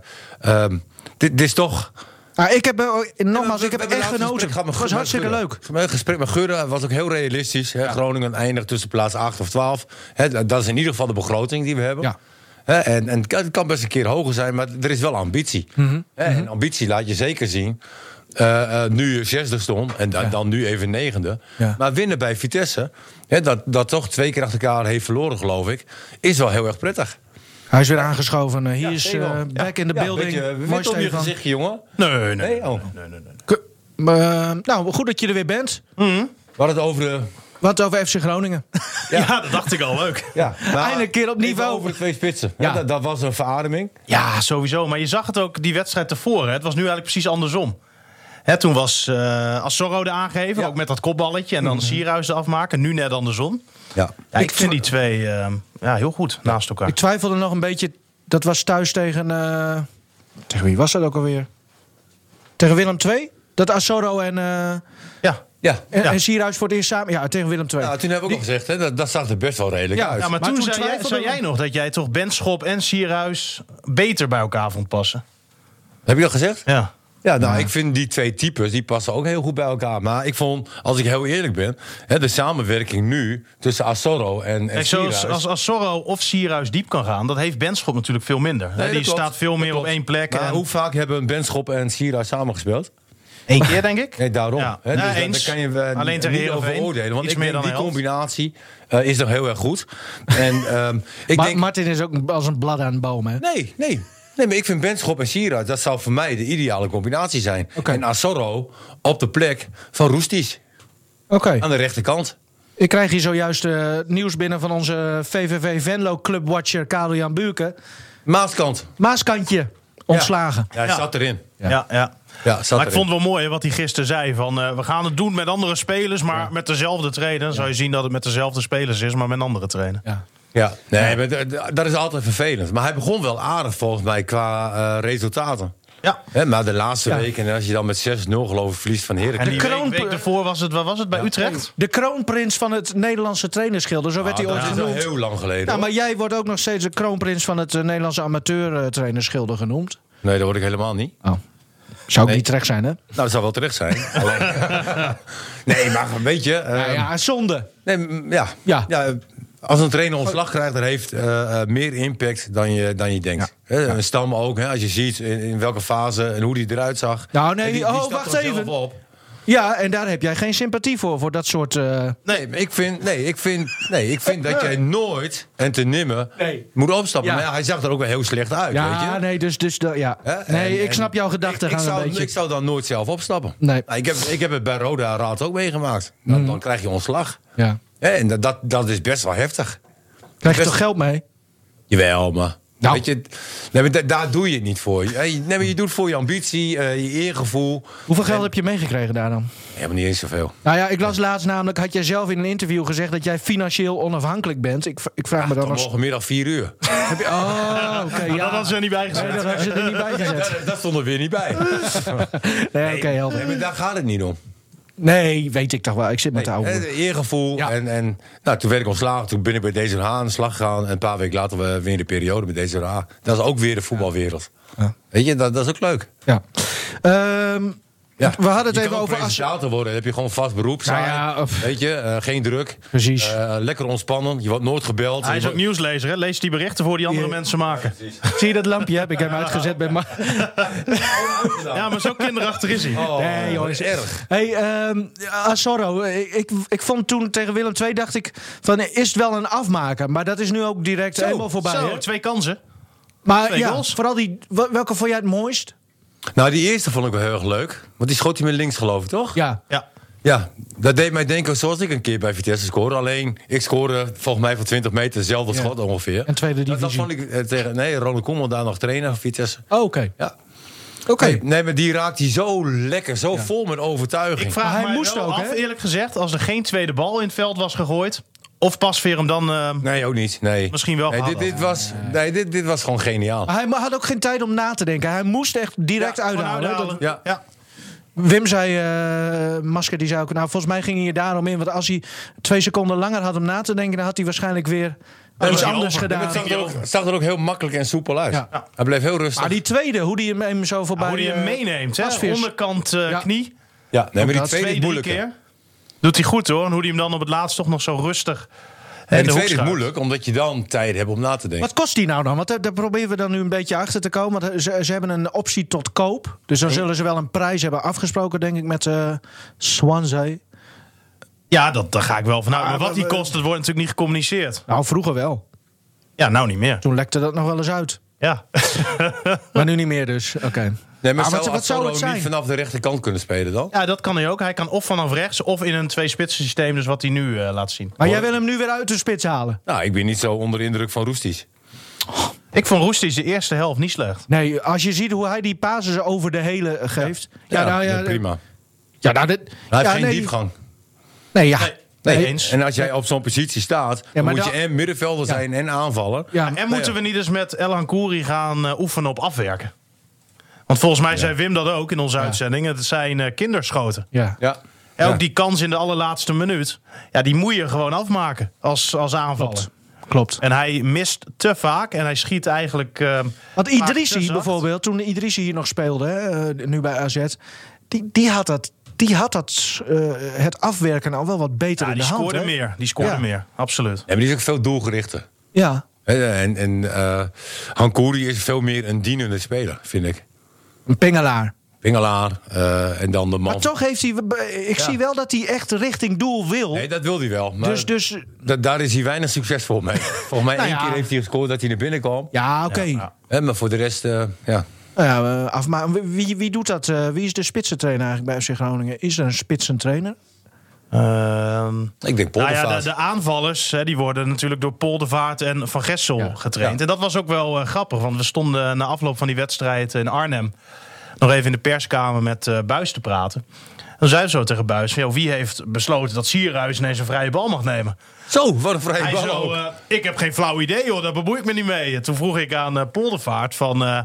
ehm, dit, dit is toch. Ah, ik heb, eh, nogmaals, ik heb We hebben echt laatst genoten. een gesprek gehad Het met was Gu- hartstikke met leuk. Gudde. Mijn gesprek met Gudde was ook heel realistisch. Hè? Groningen eindigt tussen plaats 8 of 12. Hè, dat is in ieder geval de begroting die we hebben. Ja. Hè, en, en het kan- het kan best een keer hoger zijn, maar er is wel ambitie. Mhm. Hè, En ambitie laat je zeker zien. Eh, eh, nu je zesde stond en dan, dan nu even negende. Ja. Maar winnen bij Vitesse, hè, dat, dat toch twee keer achter elkaar heeft verloren, geloof ik, is wel heel erg prettig. Hij is weer aangeschoven. Eh, Hier Ja, is eh, Stefan. Ja. back in the Ja, building. Weet je, Mooi wit om je Stefan. gezichtje, jongen. Nee, nee. Nee, oh. Ke- eh, nou, goed dat je er weer bent. Wat het over de... Wat over FC Groningen. Ja. dat dacht ik al, leuk. *laughs* Ja, Eindelijk een keer op even niveau. Over de twee spitsen. Ja. Ja. dat, dat was een verademing. Ja, sowieso. Maar je zag het ook die wedstrijd tevoren. Het was nu eigenlijk precies andersom. Hè, toen was eh Assorro de aangever, Ja. Mhm. ook met dat kopballetje. En dan Sierhuis de afmaken. Nu net andersom. Ja. Ja, ik, Ik vind vond- die twee eh, ja, heel goed naast elkaar. Ik twijfelde nog een beetje. Dat was thuis tegen. eh, tegen wie was dat ook alweer? Tegen Willem II? Dat Asoro en, eh en, Ja. Ja. Ja. en Sierhuis voor het eerst samen. Ja, tegen Willem II. Nou, toen hebben we ook al gezegd, hè, dat, dat zag er best wel redelijk Ja, uit. Ja, maar, Maar toen, toen zei, jij, twijfelde zei we- jij nog dat jij toch Benschop en Sierhuis beter bij elkaar vond passen. Heb je dat gezegd? Ja. Ja, nou, ik vind die twee types, die passen ook heel goed bij elkaar. Maar ik vond, als ik heel eerlijk ben, hè, de samenwerking nu tussen Asoro en, en Kijk, zoals Sierhuis... als, als Sorro of Sierhuis diep kan gaan, dat heeft Benschop natuurlijk veel minder. Hè, Nee, dat die klopt. staat veel Dat meer op klopt. één plek. Maar en- hoe vaak hebben Benschop en Sierhuis samengespeeld? Eén keer, denk ik. Nee, daarom. Ja. Hè, Ja, dus daar- eens. daar kan je eh, Alleen tegen niet over Heerenveen. oordelen. Want Iets ik meer denk, die dan de helft. combinatie eh, is nog heel erg *laughs* goed. En ehm, ik maar denk... Martin is ook als een blad aan een boom, hè? Nee, nee. Nee, maar ik vind Benschop en Sierra, dat zou voor mij de ideale combinatie zijn. Oké. En Asoro op de plek van Roesties, Oké. aan de rechterkant. Ik krijg hier zojuist eh, nieuws binnen van onze VVV Venlo Clubwatcher Karel Jan Buurken. Maaskant. Maaskantje, ontslagen. Ja, hij Ja. zat erin. Ja, ja. Ja, zat maar erin. ik vond het wel mooi hè, wat hij gisteren zei. Van, eh, we gaan het doen met andere spelers, maar met dezelfde trainer. Dan zou je zien dat het met dezelfde spelers is, maar met een andere trainer. Ja. Ja, nee, maar d- d- dat is altijd vervelend. Maar hij begon wel aardig volgens mij qua eh, resultaten. Ja. Hè, maar de laatste Ja. weken, als je dan met 6-0 geloof ik verliest van Ah, En Heracles. die kroon- week, week daarvoor was het, waar was het, bij Utrecht? De kroonprins van het Nederlandse trainerschilder, zo werd Ah, hij ooit dat is al genoemd. heel lang geleden. Ja, hoor. maar jij wordt ook nog steeds de kroonprins van het eh, Nederlandse amateur-trainerschilder genoemd. Nee, dat word ik helemaal niet. Oh. Zou ook Nee. niet terecht zijn, hè? Nou, dat zou wel terecht *laughs* zijn. Alleen- *laughs* nee, maar weet je... Nou ehm, ja, zonde. Nee, m- ja. Ja. Ja. Als een trainer ontslag krijgt, dat heeft eh, eh, meer impact dan je, dan je denkt. Hè, Een stam ook, hè, als je ziet in, in welke fase en hoe die eruit zag. Nou, nee, En oh, stapt wacht er zelf even. Op. Ja, en daar heb jij geen sympathie voor, voor dat soort... eh, Nee, maar ik vind, nee, ik vind, nee, ik vind dat jij nooit en te nimmer Nee. moet opstappen. Ja. Maar ja, hij zag er ook wel heel slecht uit, weet je. ja, nee, dus... dus de- ja. Hè, Nee, en- ik snap en jouw ik, ik gedachtegang zou, een beetje. Ik zou dan nooit zelf opstappen. Nee. Mhm. Nou, ik, heb, ik heb het bij Roda Raad ook meegemaakt. Dan, dan krijg je ontslag. Ja. Hè, En dat, dat, dat is best wel heftig. Krijg je Best- toch geld mee? Jawel, maar. Nou. Weet je, nee, maar da- daar doe je het niet voor. Je- Nee, maar je doet het voor je ambitie, eh, je eergevoel. Hoeveel geld heb je meegekregen daar dan? Helemaal niet eens zoveel. Nou ja, ik las laatst namelijk, had jij zelf in een interview gezegd dat jij financieel onafhankelijk bent. Ik, v- ik vraag me dan nog. Morgenmiddag 4 uur. Heb je- Oh, oké. ja, *laughs* Dat hadden ze er niet bij gezet. Nee, dat had je er niet bij gezet. *laughs* Dat, dat stond er weer niet bij. Nee, oké, helder. Nee, maar daar gaat het niet om. Nee, weet ik toch wel. Ik zit met Nee, de oude. hè, broer. eh, eergevoel. Ja. En, en nou, toen werd ik ontslagen. Toen ben ik bij deze aan de slag gegaan. En een paar weken later we weer in de periode met deze A. Dat is ook weer de voetbalwereld. Ja. Weet je, dat, dat is ook leuk. Ja. Ehm, We hadden het je even kan ook over. As- presentator worden. Dan heb je gewoon vast beroep. saai. ja, of- Weet je, eh, geen druk. Precies. Eh, lekker ontspannen. Je wordt nooit gebeld. Hij Je is ook wordt- nieuwslezer, hè? leest die berichten voor die andere mensen maken. Zie je dat lampje? Heb ik hem uitgezet bij. Ma- Ja, maar zo kinderachtig is hij. Oh, Nee, joh, is- dat is erg. Hey, ehm Asoro, ik, ik, ik vond toen tegen Willem II, dacht ik, van is het wel een afmaker? Maar dat is nu ook direct helemaal voorbij. Zo, hè? twee kansen. Maar twee ja, goals. vooral die, wel- welke vond jij het mooist? Nou, die eerste vond ik wel heel erg leuk. Want die schoot hij met links, geloof ik, toch? Ja. Ja. Ja, dat deed mij denken zoals ik een keer bij Vitesse scoorde. Alleen, ik scoorde volgens mij van 20 meter dezelfde schot ongeveer. En tweede Dat, dat divisie. vond ik eh, tegen... Nee, Ronald Koeman daar nog trainer van Vitesse. Oh, Oké. Ja. Oké. Nee, nee, maar die raakt hij zo lekker, zo vol met overtuiging. Ik vraag Maar hij mij moest wel ook, af, hè? eerlijk gezegd, als er geen tweede bal in het veld was gegooid... of Pasveer hem dan... eh, Nee, ook niet. Nee. Misschien wel Nee, dit, gehad. dit, was, nee dit, dit was gewoon geniaal. Maar hij ma- had ook geen tijd om na te denken. Hij moest echt direct Ja, uithalen. hè. uithalen. Ja. Ja. Dat- Wim zei, eh, Masker, die zei ook... Nou, volgens mij ging hij er daarom in. Want als hij twee seconden langer had om na te denken... dan had hij waarschijnlijk weer was iets hij anders over. Het gedaan. zag er, ook, het zag er ook heel makkelijk en soepel uit. Ja. Hij bleef heel rustig. Maar die tweede, hoe die hem- hem zo voorbij... Hoe hij hem eh, meeneemt, hè? Pasveer. Onderkant eh, Ja. knie. ja, nee, maar die dat tweede Twee, is drie moeilijk. keer. Doet hij goed, hoor. En hoe hij hem dan op het laatst toch nog zo rustig... En de de hoek tweede is schuift. moeilijk, omdat je dan tijd hebt om na te denken. Wat kost die nou dan? Want daar, daar proberen we dan nu een beetje achter te komen. Want eh, ze, ze hebben een optie tot koop. Dus dan zullen ze wel een prijs hebben afgesproken, denk ik, met eh Swansea. Ja, dat, daar ga ik wel vanuit. Maar Ah, wat die we- kost, dat wordt natuurlijk niet gecommuniceerd. Nou, vroeger wel. Ja, nou niet meer. Toen lekte dat nog wel eens uit. Ja. Maar nu niet meer dus. Oké. Nee, maar Ah, zou wat- wat zou Assoro het zijn? niet vanaf de rechterkant kunnen spelen dan? *laughs* ja, dat kan hij ook. Hij kan of vanaf rechts of in een twee-spitsen systeem. Dus wat hij nu eh, laat zien. Maar jij wil hem nu weer uit de spits halen? Nou, ik ben niet zo onder de indruk van Roesties. Ik vond Roestic de eerste helft niet slecht. Nee, als je ziet hoe hij die pases over de hele eh, geeft. Ja, nou ja. prima. Hij Ja, nou, dit, heeft ja, geen nee, diepgang. Nee, ja. Nee, Nee. eens. En als jij op zo'n positie staat, dan maar moet dan- je en middenvelder zijn en aanvaller. Ja, En moeten we niet eens met Elhan Kouri gaan eh, oefenen op afwerken? Want volgens mij zei Wim dat ook in onze uitzending. Het zijn eh, kinderschoten. ja. Ja. En Ja. ook die kans in de allerlaatste minuut. Ja, die moet je gewoon afmaken als, als aanvaller. Klopt. Klopt. En hij mist te vaak. En hij schiet eigenlijk... eh, Want Maar te Idrissi zacht. bijvoorbeeld, toen Idrissi hier nog speelde, hè, eh, nu bij AZ, die, die had dat, die had dat eh, het afwerken al wel wat beter ja, in die de hand. scoorde hè? meer. Die scoorde Ja. meer. Absoluut. Ja, maar die is ook veel doelgerichter. Ja, Hè, En, en eh Hankouri is veel meer een dienende speler, vind ik. een pingelaar. Pingelaar eh, en dan de man. Maar toch heeft hij, ik zie wel dat hij echt richting doel wil. Nee, dat wil hij wel. Maar dus, dus, da- daar is hij weinig succesvol *laughs* mee. Volgens mij Nou één ja. keer heeft hij gescoord dat hij naar binnen kwam. ja, oké. ja. Hè, maar voor de rest, eh, ja. Nou ja, eh, af, maar wie, wie doet dat? eh, wie is de spitsentrainer eigenlijk bij FC Groningen? Is er een spitsentrainer? Ehm, Ik denk Nou Poldervaart. ja, de, de aanvallers hè, die worden natuurlijk door Poldervaart en Van Gessel getraind. Ja. En dat was ook wel eh, grappig, want we stonden na afloop van die wedstrijd in Arnhem nog even in de perskamer met eh Buis te praten. En toen zeiden we zo tegen Buis: wie heeft besloten dat Sierhuis ineens een vrije bal mag nemen? Zo, wat een vrije Hij bal zo, ook. eh, ik heb geen flauw idee hoor, daar bemoei ik me niet mee. En Toen vroeg ik aan eh, Poldervaart van, eh,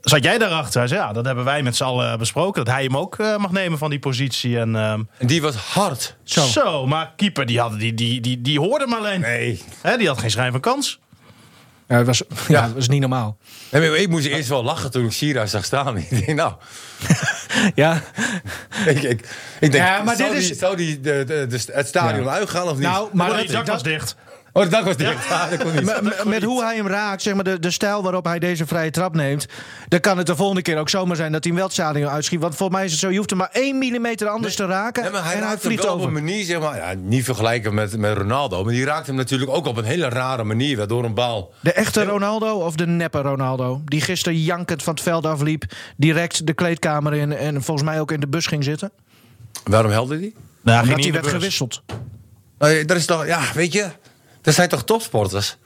zat jij daarachter? Hij zei, ja, dat hebben wij met z'n allen besproken. Dat hij hem ook eh, mag nemen van die positie. En, ehm, En die was hard. zo. maar keeper die, had, die, die, die, die hoorde hem alleen. Nee. Hè, die had geen schijn van kans. Ja, dat was, ja. dat was niet normaal. Nee, maar ik moest eerst wel lachen toen ik Sira zag staan. *laughs* Ik denk, nou, Ja, ik, ik, ik denk, Ja, maar zou, dit die, is- zou die de, de, de- het stadion uitgaan of niet? nou, Maar maar die dak was dicht. oh, de dak was dicht. *laughs* Ja, dat kon niet. Maar met, met hoe hij hem raakt, zeg maar de, de stijl waarop hij deze vrije trap neemt, dan kan het de volgende keer ook zomaar zijn dat hij hem wel het stadion uitschiet. Want volgens mij is het zo: je hoeft hem maar 1 millimeter anders te raken Nee, maar hij en hij raakt hem vliegt wel op een over. manier, zeg maar, ja, niet vergelijken met, met Ronaldo, maar die raakt hem natuurlijk ook op een hele rare manier, waardoor een bal. De echte Ronaldo of de neppe Ronaldo, die gisteren jankend van het veld afliep, direct de kleedkamer in en volgens mij ook in de bus ging zitten, Waarom helder die? Nou, omdat hij werd gewisseld. Nou, ja, dat is toch, ja, weet je, dat zijn toch topsporters?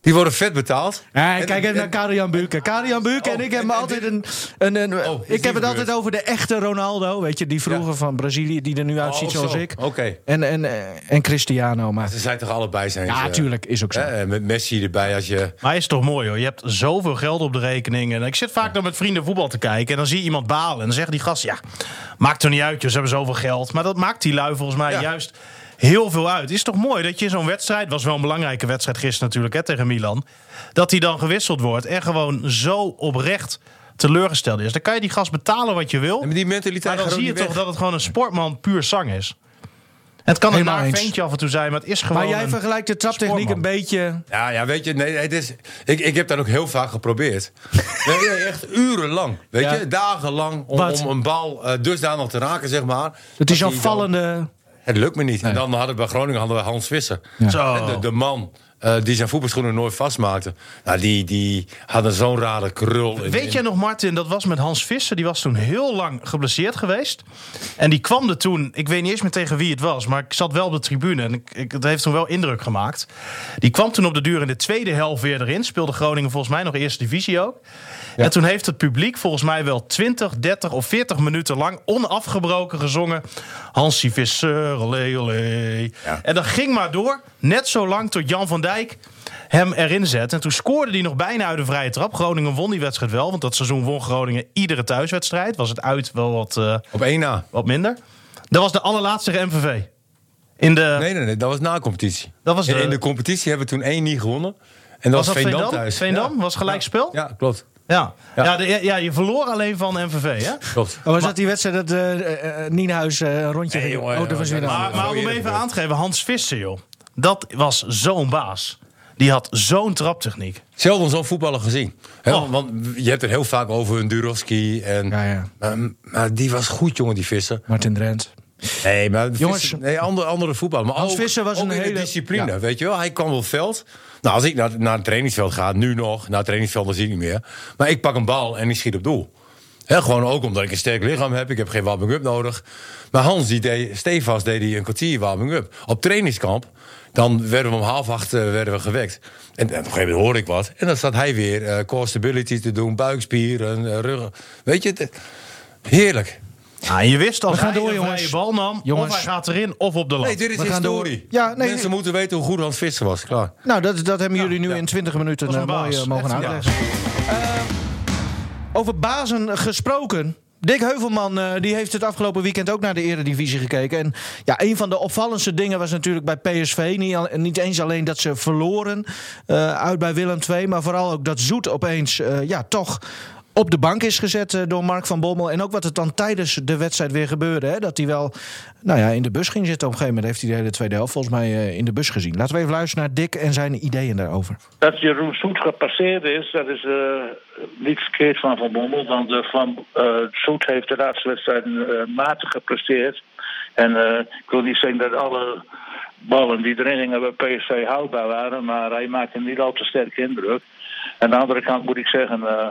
Die worden vet betaald. Ja, En- kijk even en- naar Karian Buurken. Karian Buurken en Oh, ik hebben en- altijd en- een... een, een Oh, is ik die heb het altijd gebeurd? over de echte Ronaldo, weet je. Die vroeger Ja. van Brazilië, die er nu uitziet Oh, zoals zo. ik. Oké. En, en, eh, en Cristiano, maar... Ze zijn toch allebei zijn. Ja, ze- tuurlijk, is ook zo. Hè, en met Messi erbij als je. Maar hij is toch mooi hoor. Je hebt zoveel geld op de rekening. En ik zit vaak dan met vrienden voetbal te kijken. En dan zie je iemand balen. En dan zegt die gast, ja, maakt er niet uit. joh, Ze hebben zoveel geld. Maar dat maakt die lui volgens mij Ja. juist heel veel uit. Is toch mooi dat je in zo'n wedstrijd... was wel een belangrijke wedstrijd gisteren natuurlijk hè, tegen Milan. Dat die dan gewisseld wordt. En gewoon zo oprecht teleurgesteld is. Dan kan je die gast betalen wat je wil. En die mentaliteit. Maar dan gaat ook zie je niet toch weg. dat het gewoon een sportman puur zang is. Het kan een Helemaal naar eens. ventje af en toe zijn, maar het is gewoon... Maar jij een- vergelijkt de traptechniek een sportman. beetje... Ja, ja, weet je, nee, het is, ik, ik heb dat ook heel vaak *laughs* geprobeerd. Nee, nee, echt urenlang, weet Ja. je, dagenlang om, Wat? om een bal eh, dusdanig te raken, zeg maar. Het is Dat al die vallende... dan- het lukt me niet. En dan hadden we bij Groningen hadden we Hans Visser. Zo. De, de man eh, die zijn voetbalschoenen nooit vastmaakte. Nou, die, die hadden zo'n rare krul. in- Weet in- jij nog, Martin, dat was met Hans Visser. Die was toen heel lang geblesseerd geweest. En die kwam er toen, ik weet niet eens meer tegen wie het was... maar ik zat wel op de tribune en ik, ik, het heeft toen wel indruk gemaakt. Die kwam toen op de duur in de tweede helft weer erin. Speelde Groningen volgens mij nog eerste divisie ook. En toen heeft het publiek volgens mij wel 20, 30 of 40 minuten lang... onafgebroken gezongen... Hansie Visser, olé, olé. En dat ging maar door, net zo lang tot Jan van Dijk hem erin zet. En toen scoorde hij nog bijna uit de vrije trap. Groningen won die wedstrijd wel, want dat seizoen won Groningen iedere thuiswedstrijd. Was het uit wel wat, eh, Op één na. wat minder. Dat was de allerlaatste MVV. In de, Nee, nee, nee, dat was na competitie. Dat was in, de- in de competitie hebben we toen één niet gewonnen. En dat was, was dat Veendam Veendam? thuis. Veendam was gelijkspel? Ja. Ja, klopt. Ja. Ja. de- ja, je verloor alleen van MVV, hè? klopt. Oh, was dat die wedstrijd dat eh eh, Nienhuis eh, een rondje Nee, ging- jongen, oh, dat was weer een jongen, ander. Maar, maar om eerder even gebeurd. aan te geven, Hans Visser, joh. Dat was zo'n baas. Die had zo'n traptechniek. Zelden zo'n voetballer gezien. Hè, Oh. Want je hebt het heel vaak over een Durovski. En, Ja, ja. Maar, maar die was goed, jongen, die vissen. Martin Drent. Nee, maar Jongens- Visser- nee, andere, andere voetbal. Maar Hans ook, Visser was ook een in de hele- discipline, ja. weet je wel. Hij kwam op veld. Nou, als ik naar, naar het trainingsveld ga, nu nog, naar het trainingsveld dan zie ik niet meer. Maar ik pak een bal en ik schiet op doel. Hè, gewoon ook omdat ik een sterk lichaam heb. Ik heb geen warming-up nodig. Maar Hans, die deed, Stefans deed hij een kwartier warming-up. Op trainingskamp, dan werden we om half acht eh, werden we gewekt. En, en op een gegeven moment hoorde ik wat. En dan zat hij weer eh, core stability te doen, buikspieren, eh, rug. Weet je, het- heerlijk. Nou, en je wist als We gaan hij door, een vrije jongens. bal nam, Jongens. of hij gaat erin of op de lat. Nee, dit is We gaan door. historie. Ja, nee, Mensen nee. moeten weten hoe goed Hans Visser was. Klaar. Nou, dat, dat hebben jullie nu in 20 minuten was een eh, mooi baas. eh, mogen Echt een uitleggen. Eh, over bazen gesproken. Dick Heuvelman eh, die heeft het afgelopen weekend ook naar de Eredivisie gekeken. En ja, een van de opvallendste dingen was natuurlijk bij PSV. Niet, al- niet eens alleen dat ze verloren eh, uit bij Willem II. Maar vooral ook dat Zoet opeens eh, ja, toch op de bank is gezet eh, door Mark van Bommel. En ook wat het dan tijdens de wedstrijd weer gebeurde. Hè? Dat hij wel nou ja, in de bus ging zitten. Op een gegeven moment heeft hij de hele tweede helft volgens mij eh, in de bus gezien. Laten we even luisteren naar Dick en zijn ideeën daarover. Dat Jeroen Soet gepasseerd is, dat is eh, niet verkeerd van Van Bommel. Want eh, Van eh, Soet heeft de laatste wedstrijd eh, matig gepresteerd. En eh, ik wil niet zeggen dat alle ballen die erin gingen bij PSV houdbaar waren. Maar hij maakte niet al te sterk indruk. Aan de andere kant moet ik zeggen, eh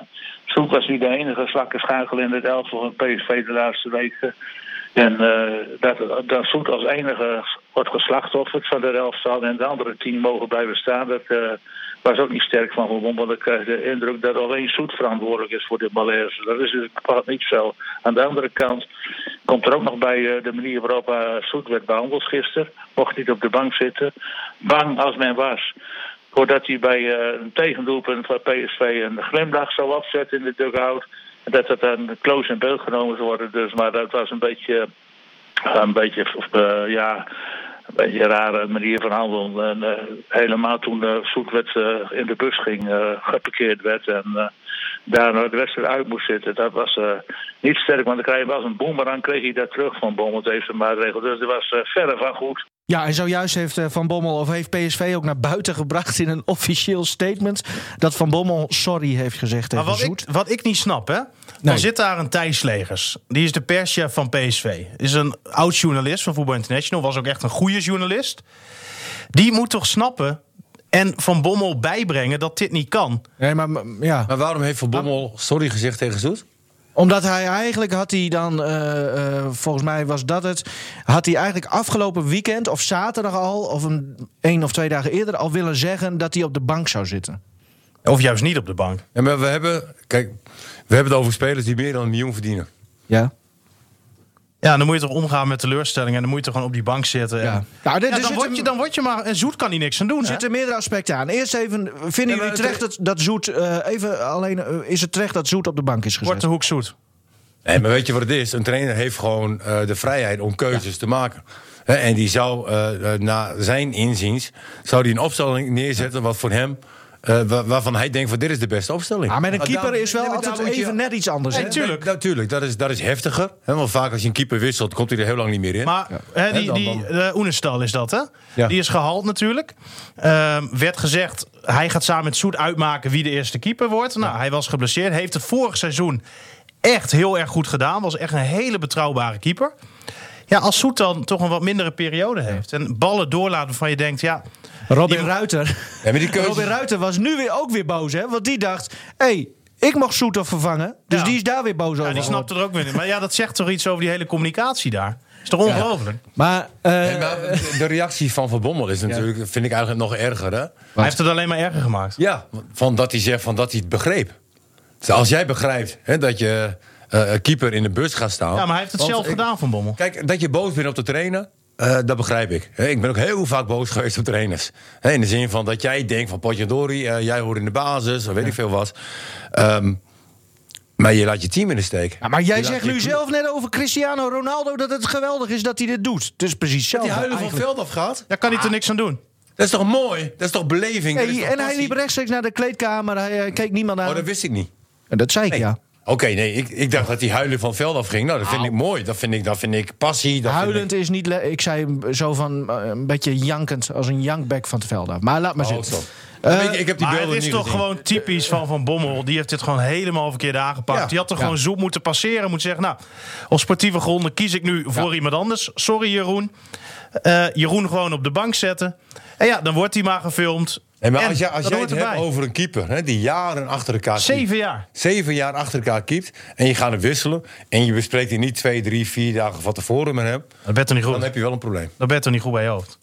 Soet was niet de enige zwakke schakel in het elftal van PSV de laatste weken. En eh, dat, dat Soet als enige wordt geslachtofferd van de elftal en de andere tien mogen blijven staan, dat eh, was ook niet sterk van Van Bommel. Ik krijg de indruk dat alleen Soet verantwoordelijk is voor dit malaise. Dat is dus bepaald niet zo. Aan de andere kant komt er ook nog bij eh, de manier waarop eh, Soet werd behandeld gisteren. Mocht niet op de bank zitten. Bang als men was. Doordat hij bij eh, een tegendoelpunt van PSV een glimlach zou opzetten in de dugout. En dat dat dan close in beeld genomen zou worden. Dus, maar dat was een beetje, een beetje, eh, ja, een beetje een rare manier van handelen. En, eh, helemaal toen eh Soet werd, eh, in de bus ging, eh, geparkeerd werd en eh, daarna de wedstrijd uit moest zitten. Dat was eh, niet sterk, want dan kreeg je als een boemerang kreeg hij dat terug van Bommel deze maatregel. Dus dat was eh, verre van goed. Ja, en zojuist heeft eh, Van Bommel of heeft PSV ook naar buiten gebracht in een officieel statement dat Van Bommel sorry heeft gezegd Maar tegen wat ik, Zoet. wat ik niet snap, hè? Dan Nee. zit daar een Thijs Legers. Die is de perschef van PSV. Is een oud journalist van Voetbal International. Was ook echt een goede journalist. Die moet toch snappen en Van Bommel bijbrengen dat dit niet kan. Nee, maar m- ja. Maar waarom heeft Van Bommel Ah. sorry gezegd tegen Zoet? Omdat hij eigenlijk had hij dan, eh, eh, volgens mij was dat het, had hij eigenlijk afgelopen weekend of zaterdag al, of een, één of twee dagen eerder al willen zeggen dat hij op de bank zou zitten. Of juist niet op de bank. Ja, maar we hebben, kijk, we hebben het over spelers die meer dan een miljoen verdienen. Ja. Ja, dan moet je toch omgaan met teleurstellingen. En dan moet je toch gewoon op die bank zitten. En... Ja. Ja. Nou, dit- er dan, zit word een- je, dan word je maar... En Zoet kan hier niks aan doen, Er hè? zitten meerdere aspecten aan. Eerst even, vinden Ja, maar jullie het- terecht dat, dat Zoet, eh, even alleen, eh, is het terecht dat Zoet op de bank is gezet? Korte hoek Zoet. Nee, maar weet je wat het is? Een trainer heeft gewoon eh, de vrijheid om keuzes te maken. Hè, en die zou, eh, eh, na zijn inziens, zou die een opstelling neerzetten wat voor hem, eh, wa- waarvan hij denkt van dit is de beste opstelling. Ah, met een Nou, daar- keeper is wel nee, maar daar altijd moet je- even net iets anders. hè? Nee, tuurlijk. Natuurlijk, dat is, dat is heftiger. Hè, want vaak als je een keeper wisselt, komt hij er heel lang niet meer in. Maar hè, die, Hè, dan- die dan- eh, Oenestal is dat, hè? Ja. Die is gehaald natuurlijk. Ehm, werd gezegd, hij gaat samen met Soet uitmaken wie de eerste keeper wordt. Nou, hij was geblesseerd. Heeft het vorig seizoen echt heel erg goed gedaan. Was echt een hele betrouwbare keeper. Ja, als Soet dan toch een wat mindere periode heeft... en ballen doorlaat waarvan je denkt, ja, Robin Ruiter. Ja, maar die *laughs* keuze- Robin Ruiter was nu weer ook weer boos, hè? Want die dacht, hé, hey, ik mocht Soethoff vervangen. Dus Ja. die is daar weer boos over. Ja, nou, die geworden. snapt er ook weer in. Maar ja, dat zegt toch iets over die hele communicatie daar. Is toch ongelooflijk? Maar, eh, En maar de- de reactie van Van Bommel is natuurlijk, vind ik eigenlijk nog erger. Hè? Hij heeft het alleen maar erger gemaakt. Ja, van dat hij zegt van dat hij het begreep. Dus als jij begrijpt hè, dat je eh, eh, keeper in de bus gaat staan. Ja, maar hij heeft het Want zelf ik- gedaan, Van Bommel. Kijk, dat je boos bent op de trainer, eh, dat begrijp ik. Hè, ik ben ook heel vaak boos geweest op trainers. Hè, in de zin van dat jij denkt van potjandori, eh, jij hoort in de basis, of weet ik veel wat. Ehm, maar je laat je team in de steek. ja, maar jij laat zegt je nu ploeg- zelf net over Cristiano Ronaldo dat het geweldig is dat hij dit doet. Het is precies Die hetzelfde. huilen van eigenlijk. veld afgaat. Ah. Daar kan hij er niks aan doen. Dat is toch mooi? Dat is toch beleving? Dat Hey, is toch en hij passie? liep rechtstreeks naar de kleedkamer. Hij eh, keek niemand aan. Oh, dat wist ik niet. En dat zei ik, ja. Oké, nee, ik, ik dacht dat die huilen van het veld afging. Nou, dat vind ik mooi. Dat vind ik, dat vind ik passie. Dat vind Huilend is niet... le- Ik zei hem zo van eh, een beetje jankend, als een jankback van het veld af. Maar laat maar ik... Oh, zitten. zo. Dan weet je, ik heb die Eh, Maar beelden het is niet toch gezien. gewoon typisch van Van Bommel. Die heeft dit gewoon helemaal verkeerd aangepakt. Ja, die had er ja. gewoon zoek moeten passeren. Moet zeggen, nou, op sportieve gronden kies ik nu voor iemand anders. Sorry Jeroen. Eh, Jeroen gewoon op de bank zetten. En ja, dan wordt hij maar gefilmd. Nee, maar En als jij, als dat jij het hoort hebt erbij. over een keeper hè, die jaren achter elkaar keept. Zeven jaar. Zeven jaar achter elkaar keept en je gaat hem wisselen... en je bespreekt die niet twee, drie, vier dagen van tevoren met hem... Dat bent er niet dan goed. heb je wel een probleem. Dat bent er niet goed bij je hoofd.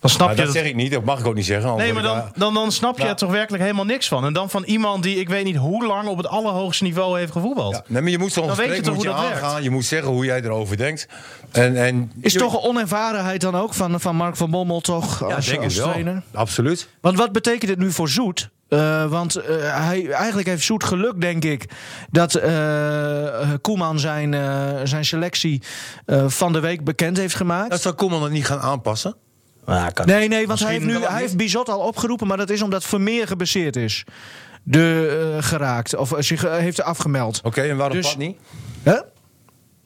Dan snap Maar je dat Nou. zeg ik niet, dat mag ik ook niet zeggen. Nee, anders maar word ik dan, dan, dan snap je Ja. er toch werkelijk helemaal niks van. En dan van iemand die ik weet niet hoe lang op het allerhoogste niveau heeft gevoetbald. daar- Nee, maar je moet zo'n Dan weet je gesprek toch moet je hoe dat aangaan. werkt? Je moet zeggen hoe jij erover denkt. En, en, Is toch een onervarenheid dan ook van, van Mark van Bommel toch ja, als, denk ik als wel. trainer? Absoluut. Want wat betekent het nu voor Zoet? Eh, want eh, hij, eigenlijk heeft Zoet geluk, denk ik, dat eh, Koeman zijn, eh, zijn selectie eh, van de week bekend heeft gemaakt. Nou, Dat zou Koeman dan niet gaan aanpassen. Nee, nee, want hij heeft, nu, kan dat hij niet. heeft Bizot al opgeroepen, maar dat is omdat Vermeer geblesseerd is. De, eh, geraakt, of eh, zich eh, heeft afgemeld. Oké, en waarom Dus- Pat niet? Hè?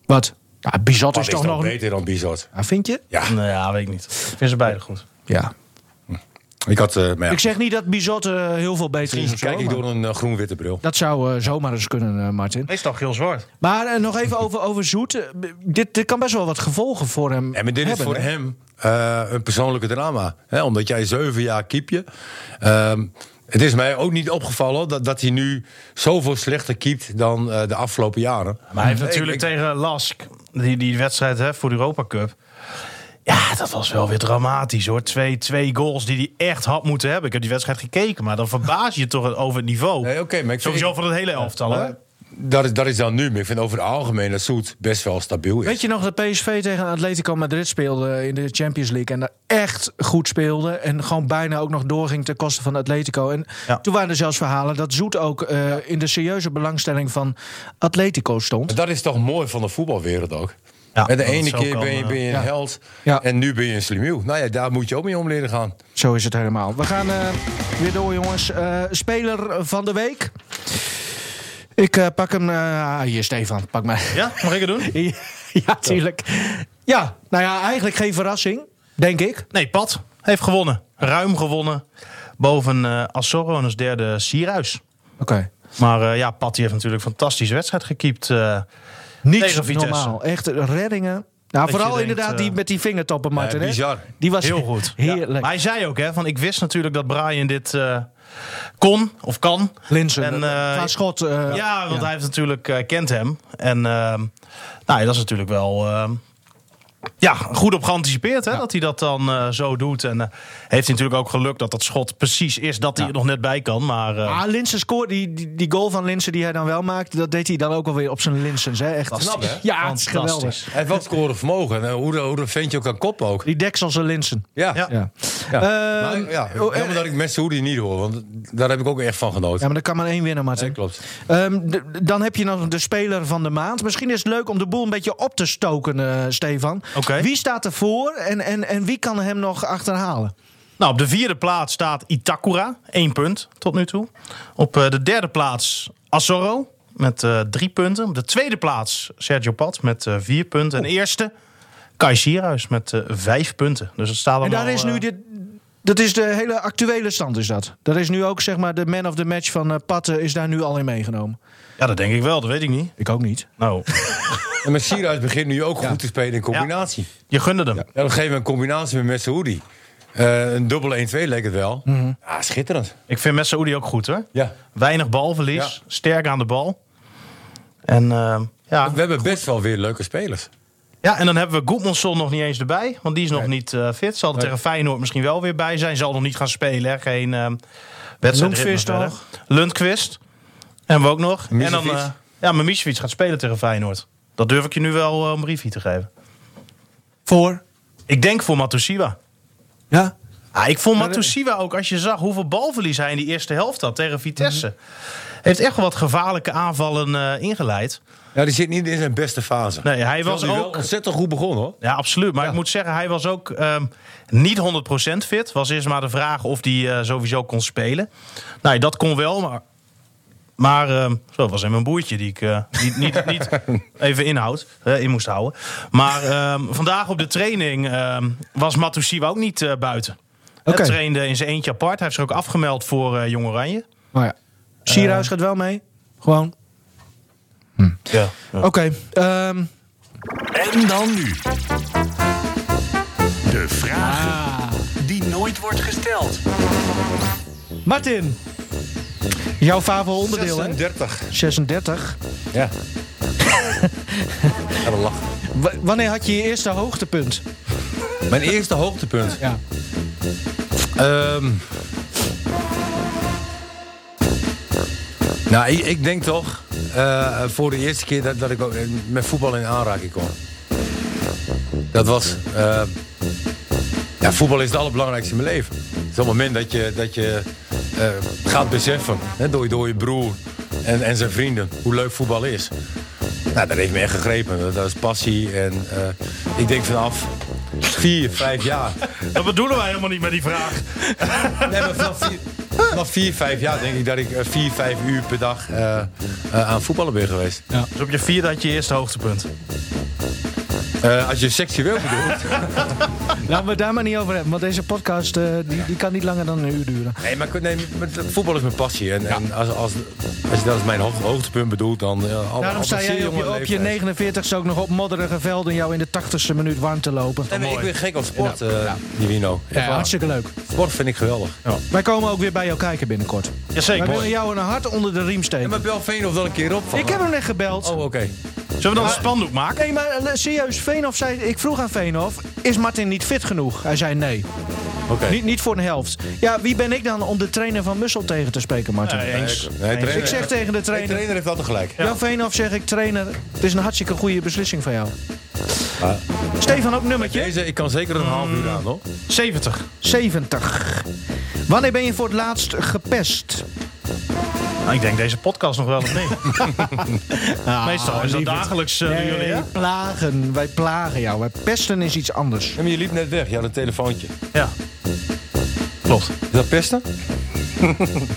Wat? Ja, Bizot Pat is is toch toch nog... beter dan Bizot. Ja, vind je? Ja, Nou ja, weet ik niet. Ik vind ze beide goed. Ja. ik had... eh, maar ja, Ik zeg niet dat Bizot eh, heel veel beter is. misschien of zo, kijk ik maar door een eh, groen-witte bril. Dat zou eh, zomaar eens kunnen, eh, Martin. Hij is toch heel zwart. Maar eh, nog even over, over Zoet. Eh, b- dit, dit kan best wel wat gevolgen voor hem En maar dit hebben, is voor hè? hem eh, een persoonlijke drama. Hè? Omdat jij zeven jaar keep je. Ehm, het is mij ook niet opgevallen dat, dat hij nu zoveel slechter keept dan eh, de afgelopen jaren. Maar hij heeft Nee, natuurlijk ik- tegen Lask, die, die wedstrijd hè, voor de Europa Cup. Ja, dat was wel weer dramatisch hoor. Twee, twee goals die hij echt had moeten hebben. Ik heb die wedstrijd gekeken, maar dan verbaas je je toch over het niveau. Nee, oké, maar ik vind- Sowieso van het hele elftal. hè? Maar dat, is, dat is dan nu. Maar ik vind over het algemeen dat Soet best wel stabiel is. Weet je nog dat PSV tegen Atletico Madrid speelde in de Champions League en daar echt goed speelde en gewoon bijna ook nog doorging ten koste van Atletico. En Ja. toen waren er zelfs verhalen dat Zoet ook eh, in de serieuze belangstelling van Atletico stond. Maar dat is toch mooi van de voetbalwereld ook. Ja, En de dat het ene zo keer kan, ben je, eh, ben je een held Ja. en nu ben je een slimiel. Nou ja, daar moet je ook mee om leren gaan. Zo is het helemaal. We gaan eh, weer door, jongens. Eh, speler van de week. Ik eh, pak hem. eh, ah, hier, Stefan, pak mij. Ja, mag ik het doen? *laughs* ja, tuurlijk. Ja, nou ja, eigenlijk geen verrassing, denk ik. Nee, Pat heeft gewonnen. Ruim gewonnen. Boven eh Assorro en als derde Sierhuis. Oké. Maar eh, ja, Pat die heeft natuurlijk een fantastische wedstrijd gekiept. eh. Niet Tegen Vitesse. normaal. Echt eh, reddingen. Nou, je vooral denkt, inderdaad eh, die met die vingertoppen, Martin. ja, hè? bizar. Die was Heel goed. Ja. Heerlijk. Maar hij zei ook, hè, van ik wist natuurlijk dat Brian dit eh, kon of kan. Linsen, En, en, eh, schot. eh, Ja, want hij heeft natuurlijk, eh, kent hem. En ehm, nou, ja, dat is natuurlijk wel ehm, ja, goed op geanticipeerd hè, dat hij dat dan eh, zo doet. En eh, heeft hij natuurlijk ook geluk dat dat schot precies is dat hij er nog net bij kan. Maar eh, Ah, Linsen scoort die, die, die goal van Linsen die hij dan wel maakt. Dat deed hij dan ook alweer op zijn Linsens. Hè? Echt Snap, hè? Ja, het is Fantastisch. geweldig. Hij heeft wel scoren vermogen. En hoe, de- hoe dat ventje ook kan koppen ook. Die dekselse Linsen. Ja. Ja. Ja. Ja. Eh, Maar, ja, oh, eh, helemaal dat ik met Saoedi niet hoor, want daar heb ik ook echt van genoten. ja, maar dan kan maar één winnen, Ja, Martin. klopt. Ehm, d- dan heb je nog de speler van de maand. Misschien is het leuk om de boel een beetje op te stoken, eh, Stefan. Oké. Wie staat ervoor en, en, en wie kan hem nog achterhalen? nou, op de vierde plaats staat Itakura. één punt tot nu toe. Op eh, de derde plaats Asoro met eh, drie punten. Op de tweede plaats Sergio Pat met eh, vier punten. En de eerste Kai Sierhuis met eh, vijf punten. Dus het staat En allemaal... daar is nu eh, dit. Dat is de hele actuele stand, is dat? Dat is nu ook zeg maar de man of the match van eh Patten is daar nu al in meegenomen. Ja, dat denk ik wel. Dat weet ik niet. Ik ook niet. Nou, En maar Sierhuis begint nu ook goed te spelen in combinatie. *laughs* je gunde hem. Ja. dan geven we een combinatie met Saoedi. Eh, een dubbele 1-2 leek het wel. Ja, schitterend. Ik vind Messaoudi ook goed hoor. Ja. Weinig balverlies, Ja. sterk aan de bal. En, eh, ja. We hebben best wel weer leuke spelers. ja, en dan hebben we Goedmanson nog niet eens erbij. Want die is nog niet eh, fit. Zal er tegen Feyenoord misschien wel weer bij zijn. Zal nog niet gaan spelen. Hè. Geen eh wedstrijd. Lundqvist nog. Lundqvist. Hebben we ook nog. En dan, Misevic. eh ja, maar Misevic gaat spelen tegen Feyenoord. Dat durf ik je nu wel eh, een briefje te geven. Voor? Ik denk voor Matusiwa. Ja? Ah, ik vond Matusiwa ook, als je zag hoeveel balverlies hij in die eerste helft had tegen Vitesse. Heeft echt wel wat gevaarlijke aanvallen eh, ingeleid. Ja, die zit niet in zijn beste fase. Nee, hij Terwijl was die wel ook... ontzettend goed begonnen hoor. Ja, absoluut. Maar ik moet zeggen, hij was ook ehm, niet 100% fit. Was eerst maar de vraag of hij eh, sowieso kon spelen. Nou, dat kon wel, maar... Maar ehm, zo was hem een boertje die ik eh, niet, niet, niet even inhoud, eh, in moest houden. Maar ehm, vandaag op de training ehm, was Matusiwa ook niet eh, buiten. Oké. Hij trainde in zijn eentje apart. Hij heeft zich ook afgemeld voor eh, Jong Oranje. Nou ja. Sierhuis gaat wel mee. Gewoon. Ja. Oké. ehm, En dan nu. De vraag Ah. die nooit wordt gesteld. Martin. Jouw favoriete onderdeel, hè? 36. 36. Ja. *laughs* Ga wel lachen. W- wanneer had je je eerste hoogtepunt? Mijn eerste hoogtepunt. Ja. Ehm. nou, ik, ik denk toch eh, voor de eerste keer dat, dat ik ook met voetbal in aanraking kwam. Dat was. eh, ja, voetbal is het allerbelangrijkste in mijn leven. Het is op het moment dat je, dat je eh, gaat beseffen hè, door, je- door je broer en, en zijn vrienden hoe leuk voetbal is. Nou, dat heeft me echt gegrepen. Dat, dat is passie. En eh, ik denk vanaf vier, vijf jaar Dat bedoelen wij helemaal niet met die vraag. Nee, maar vanaf vier, vanaf vier, vijf jaar denk ik dat ik eh, vier, vijf uur per dag eh, eh, aan voetballen ben geweest. Dus op je vierde had je je eerste hoogtepunt. Eh, als je seksueel *laughs* bedoelt. Laten we het daar maar niet over hebben, want deze podcast eh, die, die kan niet langer dan een uur duren. Nee, maar ik- nee, maar voetbal is mijn passie. En, en als, als, als je dat als mijn hoog- hoogtepunt bedoelt, dan... eh, al- Daarom al- sta al- jij zeer op jonge je, op je leeftijd. 49ste ook nog op modderige velden jou in de 80ste minuut warm te lopen. Nee, maar ik ben gek op sport, eh Nivino. Ja, hartstikke leuk. Sport vind ik geweldig. Wij komen ook weer bij jou kijken binnenkort. Jazeker. Wij willen Mooi. jou een hart onder de riem steken. Maar bel Veenhoff dan een keer op. van- Ik heb hem net gebeld. Oh, oké. Zullen we dan een spandoek maken? Nee, maar eh, serieus, Veenhof zei... Ik vroeg aan Veenhof, is Martin niet fit genoeg? Hij zei nee. Oké. Niet, niet voor een helft. Ja, wie ben ik dan om de trainer van Mussel tegen te spreken, Martin? Nee, eens. Nee, trainer, ik zeg tegen de de trainer... trainer heeft altijd gelijk. Jan Veenhof zeg ik, trainer, het is een hartstikke goede beslissing van jou. Stefan, ook nummertje? Deze, ik kan zeker een half uur aan, hoor. 70. 70. Wanneer ben je voor het laatst gepest? Nou, ik denk deze podcast nog wel of niet. Meestal is dat dagelijks eh, bij jullie, hè? wij plagen, wij plagen jou. Wij pesten is iets anders. Ja, maar je liep net weg. Je had een telefoontje. Ja. Klopt. Is dat pesten?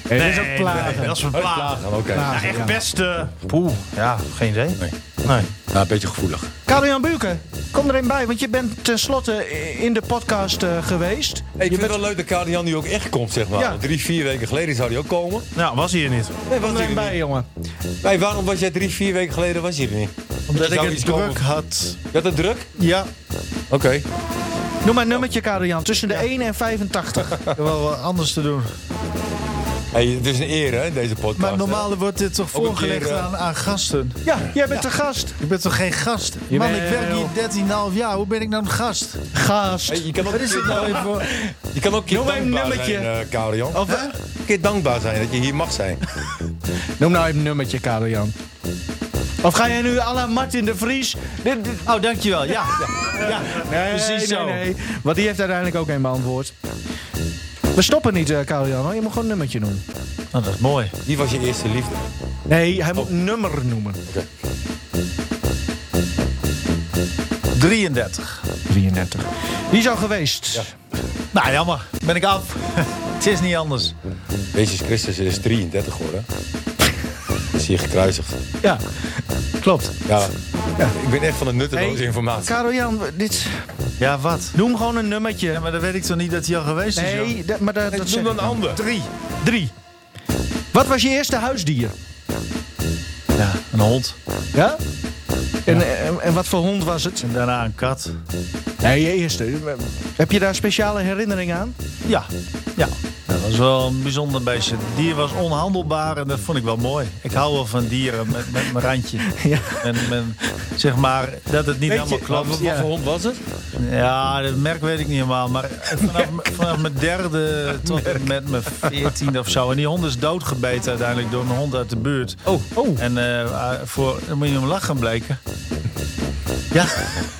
Het is ook plagen. dat is een plaag. Oké. Ja, echt best... eh, poeh, ja, geen idee. Nou, Nee. Nee. Ja, een beetje gevoelig. Karel-Jan Buurken, kom erin bij, want je bent tenslotte in de podcast eh, geweest. Hey, ik je vind het wel leuk dat Kadian nu ook echt komt, zeg maar. Ja. Want Drie, vier weken geleden zou hij ook komen. Nou, was hij er niet. Nee, was kom hij erin er bij, jongen. niet. Hey, waarom was jij drie, vier weken geleden was hij er niet? Omdat Je ik zou het iets druk komen. had. Je had het druk? Ja, Oké. Noem maar een nummertje, Karel-Jan. Tussen de 1 en *laughs* 85. ik heb wel wat anders te doen. Hey, het is een eer, hè, deze podcast. Maar normaal wordt dit toch Ook een voorgelegd keer, eh, aan, aan gasten? Ja, jij bent de gast. Ik ben toch geen gast? Man, ik bent- werk hier 13,5 jaar. Hoe ben ik nou een gast? Gast. Hey, je kan ook Wat is dit nou even voor... Je kan ook een keer Noem een dankbaar nummertje. zijn, eh, Kadian. Of, Een keer dankbaar zijn dat je hier mag zijn. Noem nou even een nummertje, Karel-Jan. Of ga jij nu à la Martin de Vries? Dit, dit- Oh, dankjewel. Ja, Nee, precies zo. Want die heeft uiteindelijk ook een beantwoord. We stoppen niet, eh Karel-Jan. hoor. Je moet gewoon een nummertje noemen. Nou, dat is mooi. Wie was je eerste liefde? Nee, hij moet nummer noemen. 33. 33. Die is al geweest. Nou, jammer. Ben ik af. *laughs* Het is niet anders. Jezus Christus is 33 geworden. Is hier gekruisigd. Ja, klopt. Ja. Ik ben echt van de nutteloze Hey, informatie. Karel-Jan, dit... Ja, wat? noem gewoon een nummertje. Ja, maar dan weet ik toch niet dat hij al geweest is? joh? nee, dat- maar dat, dat Noem zeg dan ik nou. een dan. ander. Drie. Drie. Wat was je eerste huisdier? Ja, een hond. Ja? En, eh, en, en wat voor hond was het? En daarna een kat. Nee, je eerste. Heb je daar speciale herinneringen aan? Ja, ja. Dat was wel een bijzonder beestje. Het dier was onhandelbaar en dat vond ik wel mooi. Ik hou wel van dieren met, met mijn *laughs* randje. Ja. En, men- zeg maar dat het niet helemaal klopt. Wat, ja. voor hond was het? Ja, dat merk weet ik niet helemaal. Maar vanaf, vanaf mijn derde tot en met mijn veertiende of zo. En die hond is doodgebeten uiteindelijk door een hond uit de buurt. Oh, oh. En eh, voor, dan moet je hem lachen bleken. Ja.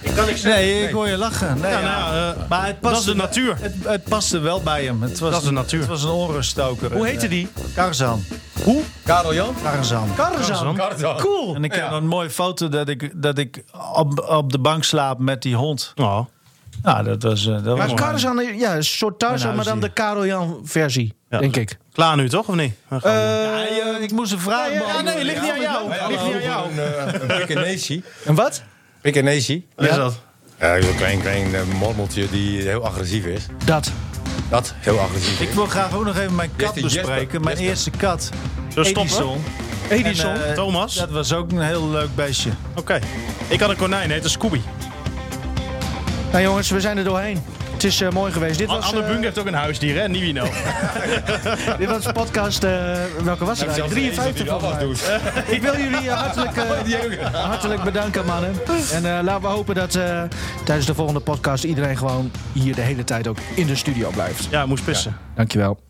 Ik kan niks Nee, ik hoor je lachen. Nee, Ja, ja, nou, eh, maar het dat is paste, de natuur. het, het paste wel bij hem. Het was Dat is de een- natuur. Het was een onruststoker. Hoe heette die? Karzan. Karel Jan? Karzan. Tarzan. Karel. Cool. En ik heb een mooie foto dat ik, dat ik op, op de bank slaap met die hond. Oh. Nou, dat was... eh, dat was Maar mooi. Tarzan, ja, een soort Tarzan, Mijn maar dan de huisdier. Karel Jan versie, denk ik. Klaar nu toch, of niet? We gaan- Ja, je- ik moest een vraag ja, beantwoorden. nee, ligt niet aan jou. Ligt niet aan jou. eh, Een Pekinese. En wat? Pekinese. Wat is dat? Ja, een klein, klein eh, mormeltje die heel agressief is. Dat. Dat, heel agressief. Ik wil graag ook nog even mijn kat Jesper, Jesper, bespreken. Mijn Jesper. eerste kat. Zo stoppen? Edison. Edison. En, eh, Thomas? Dat was ook een heel leuk beestje. Oké. Ik had een konijn, heette Scooby. nou jongens, we zijn er doorheen. Het is eh, mooi geweest. Dit was, Anne eh, Bunk heeft ook een huisdier, hè? nou. Nivino. dit was podcast, eh, welke was het eigenlijk? 53 volgens mij. Ik wil jullie eh, hartelijk, eh, hartelijk bedanken, mannen. En eh, laten we hopen dat eh, tijdens de volgende podcast iedereen gewoon hier de hele tijd ook in de studio blijft. ja, moest pissen. Dankjewel.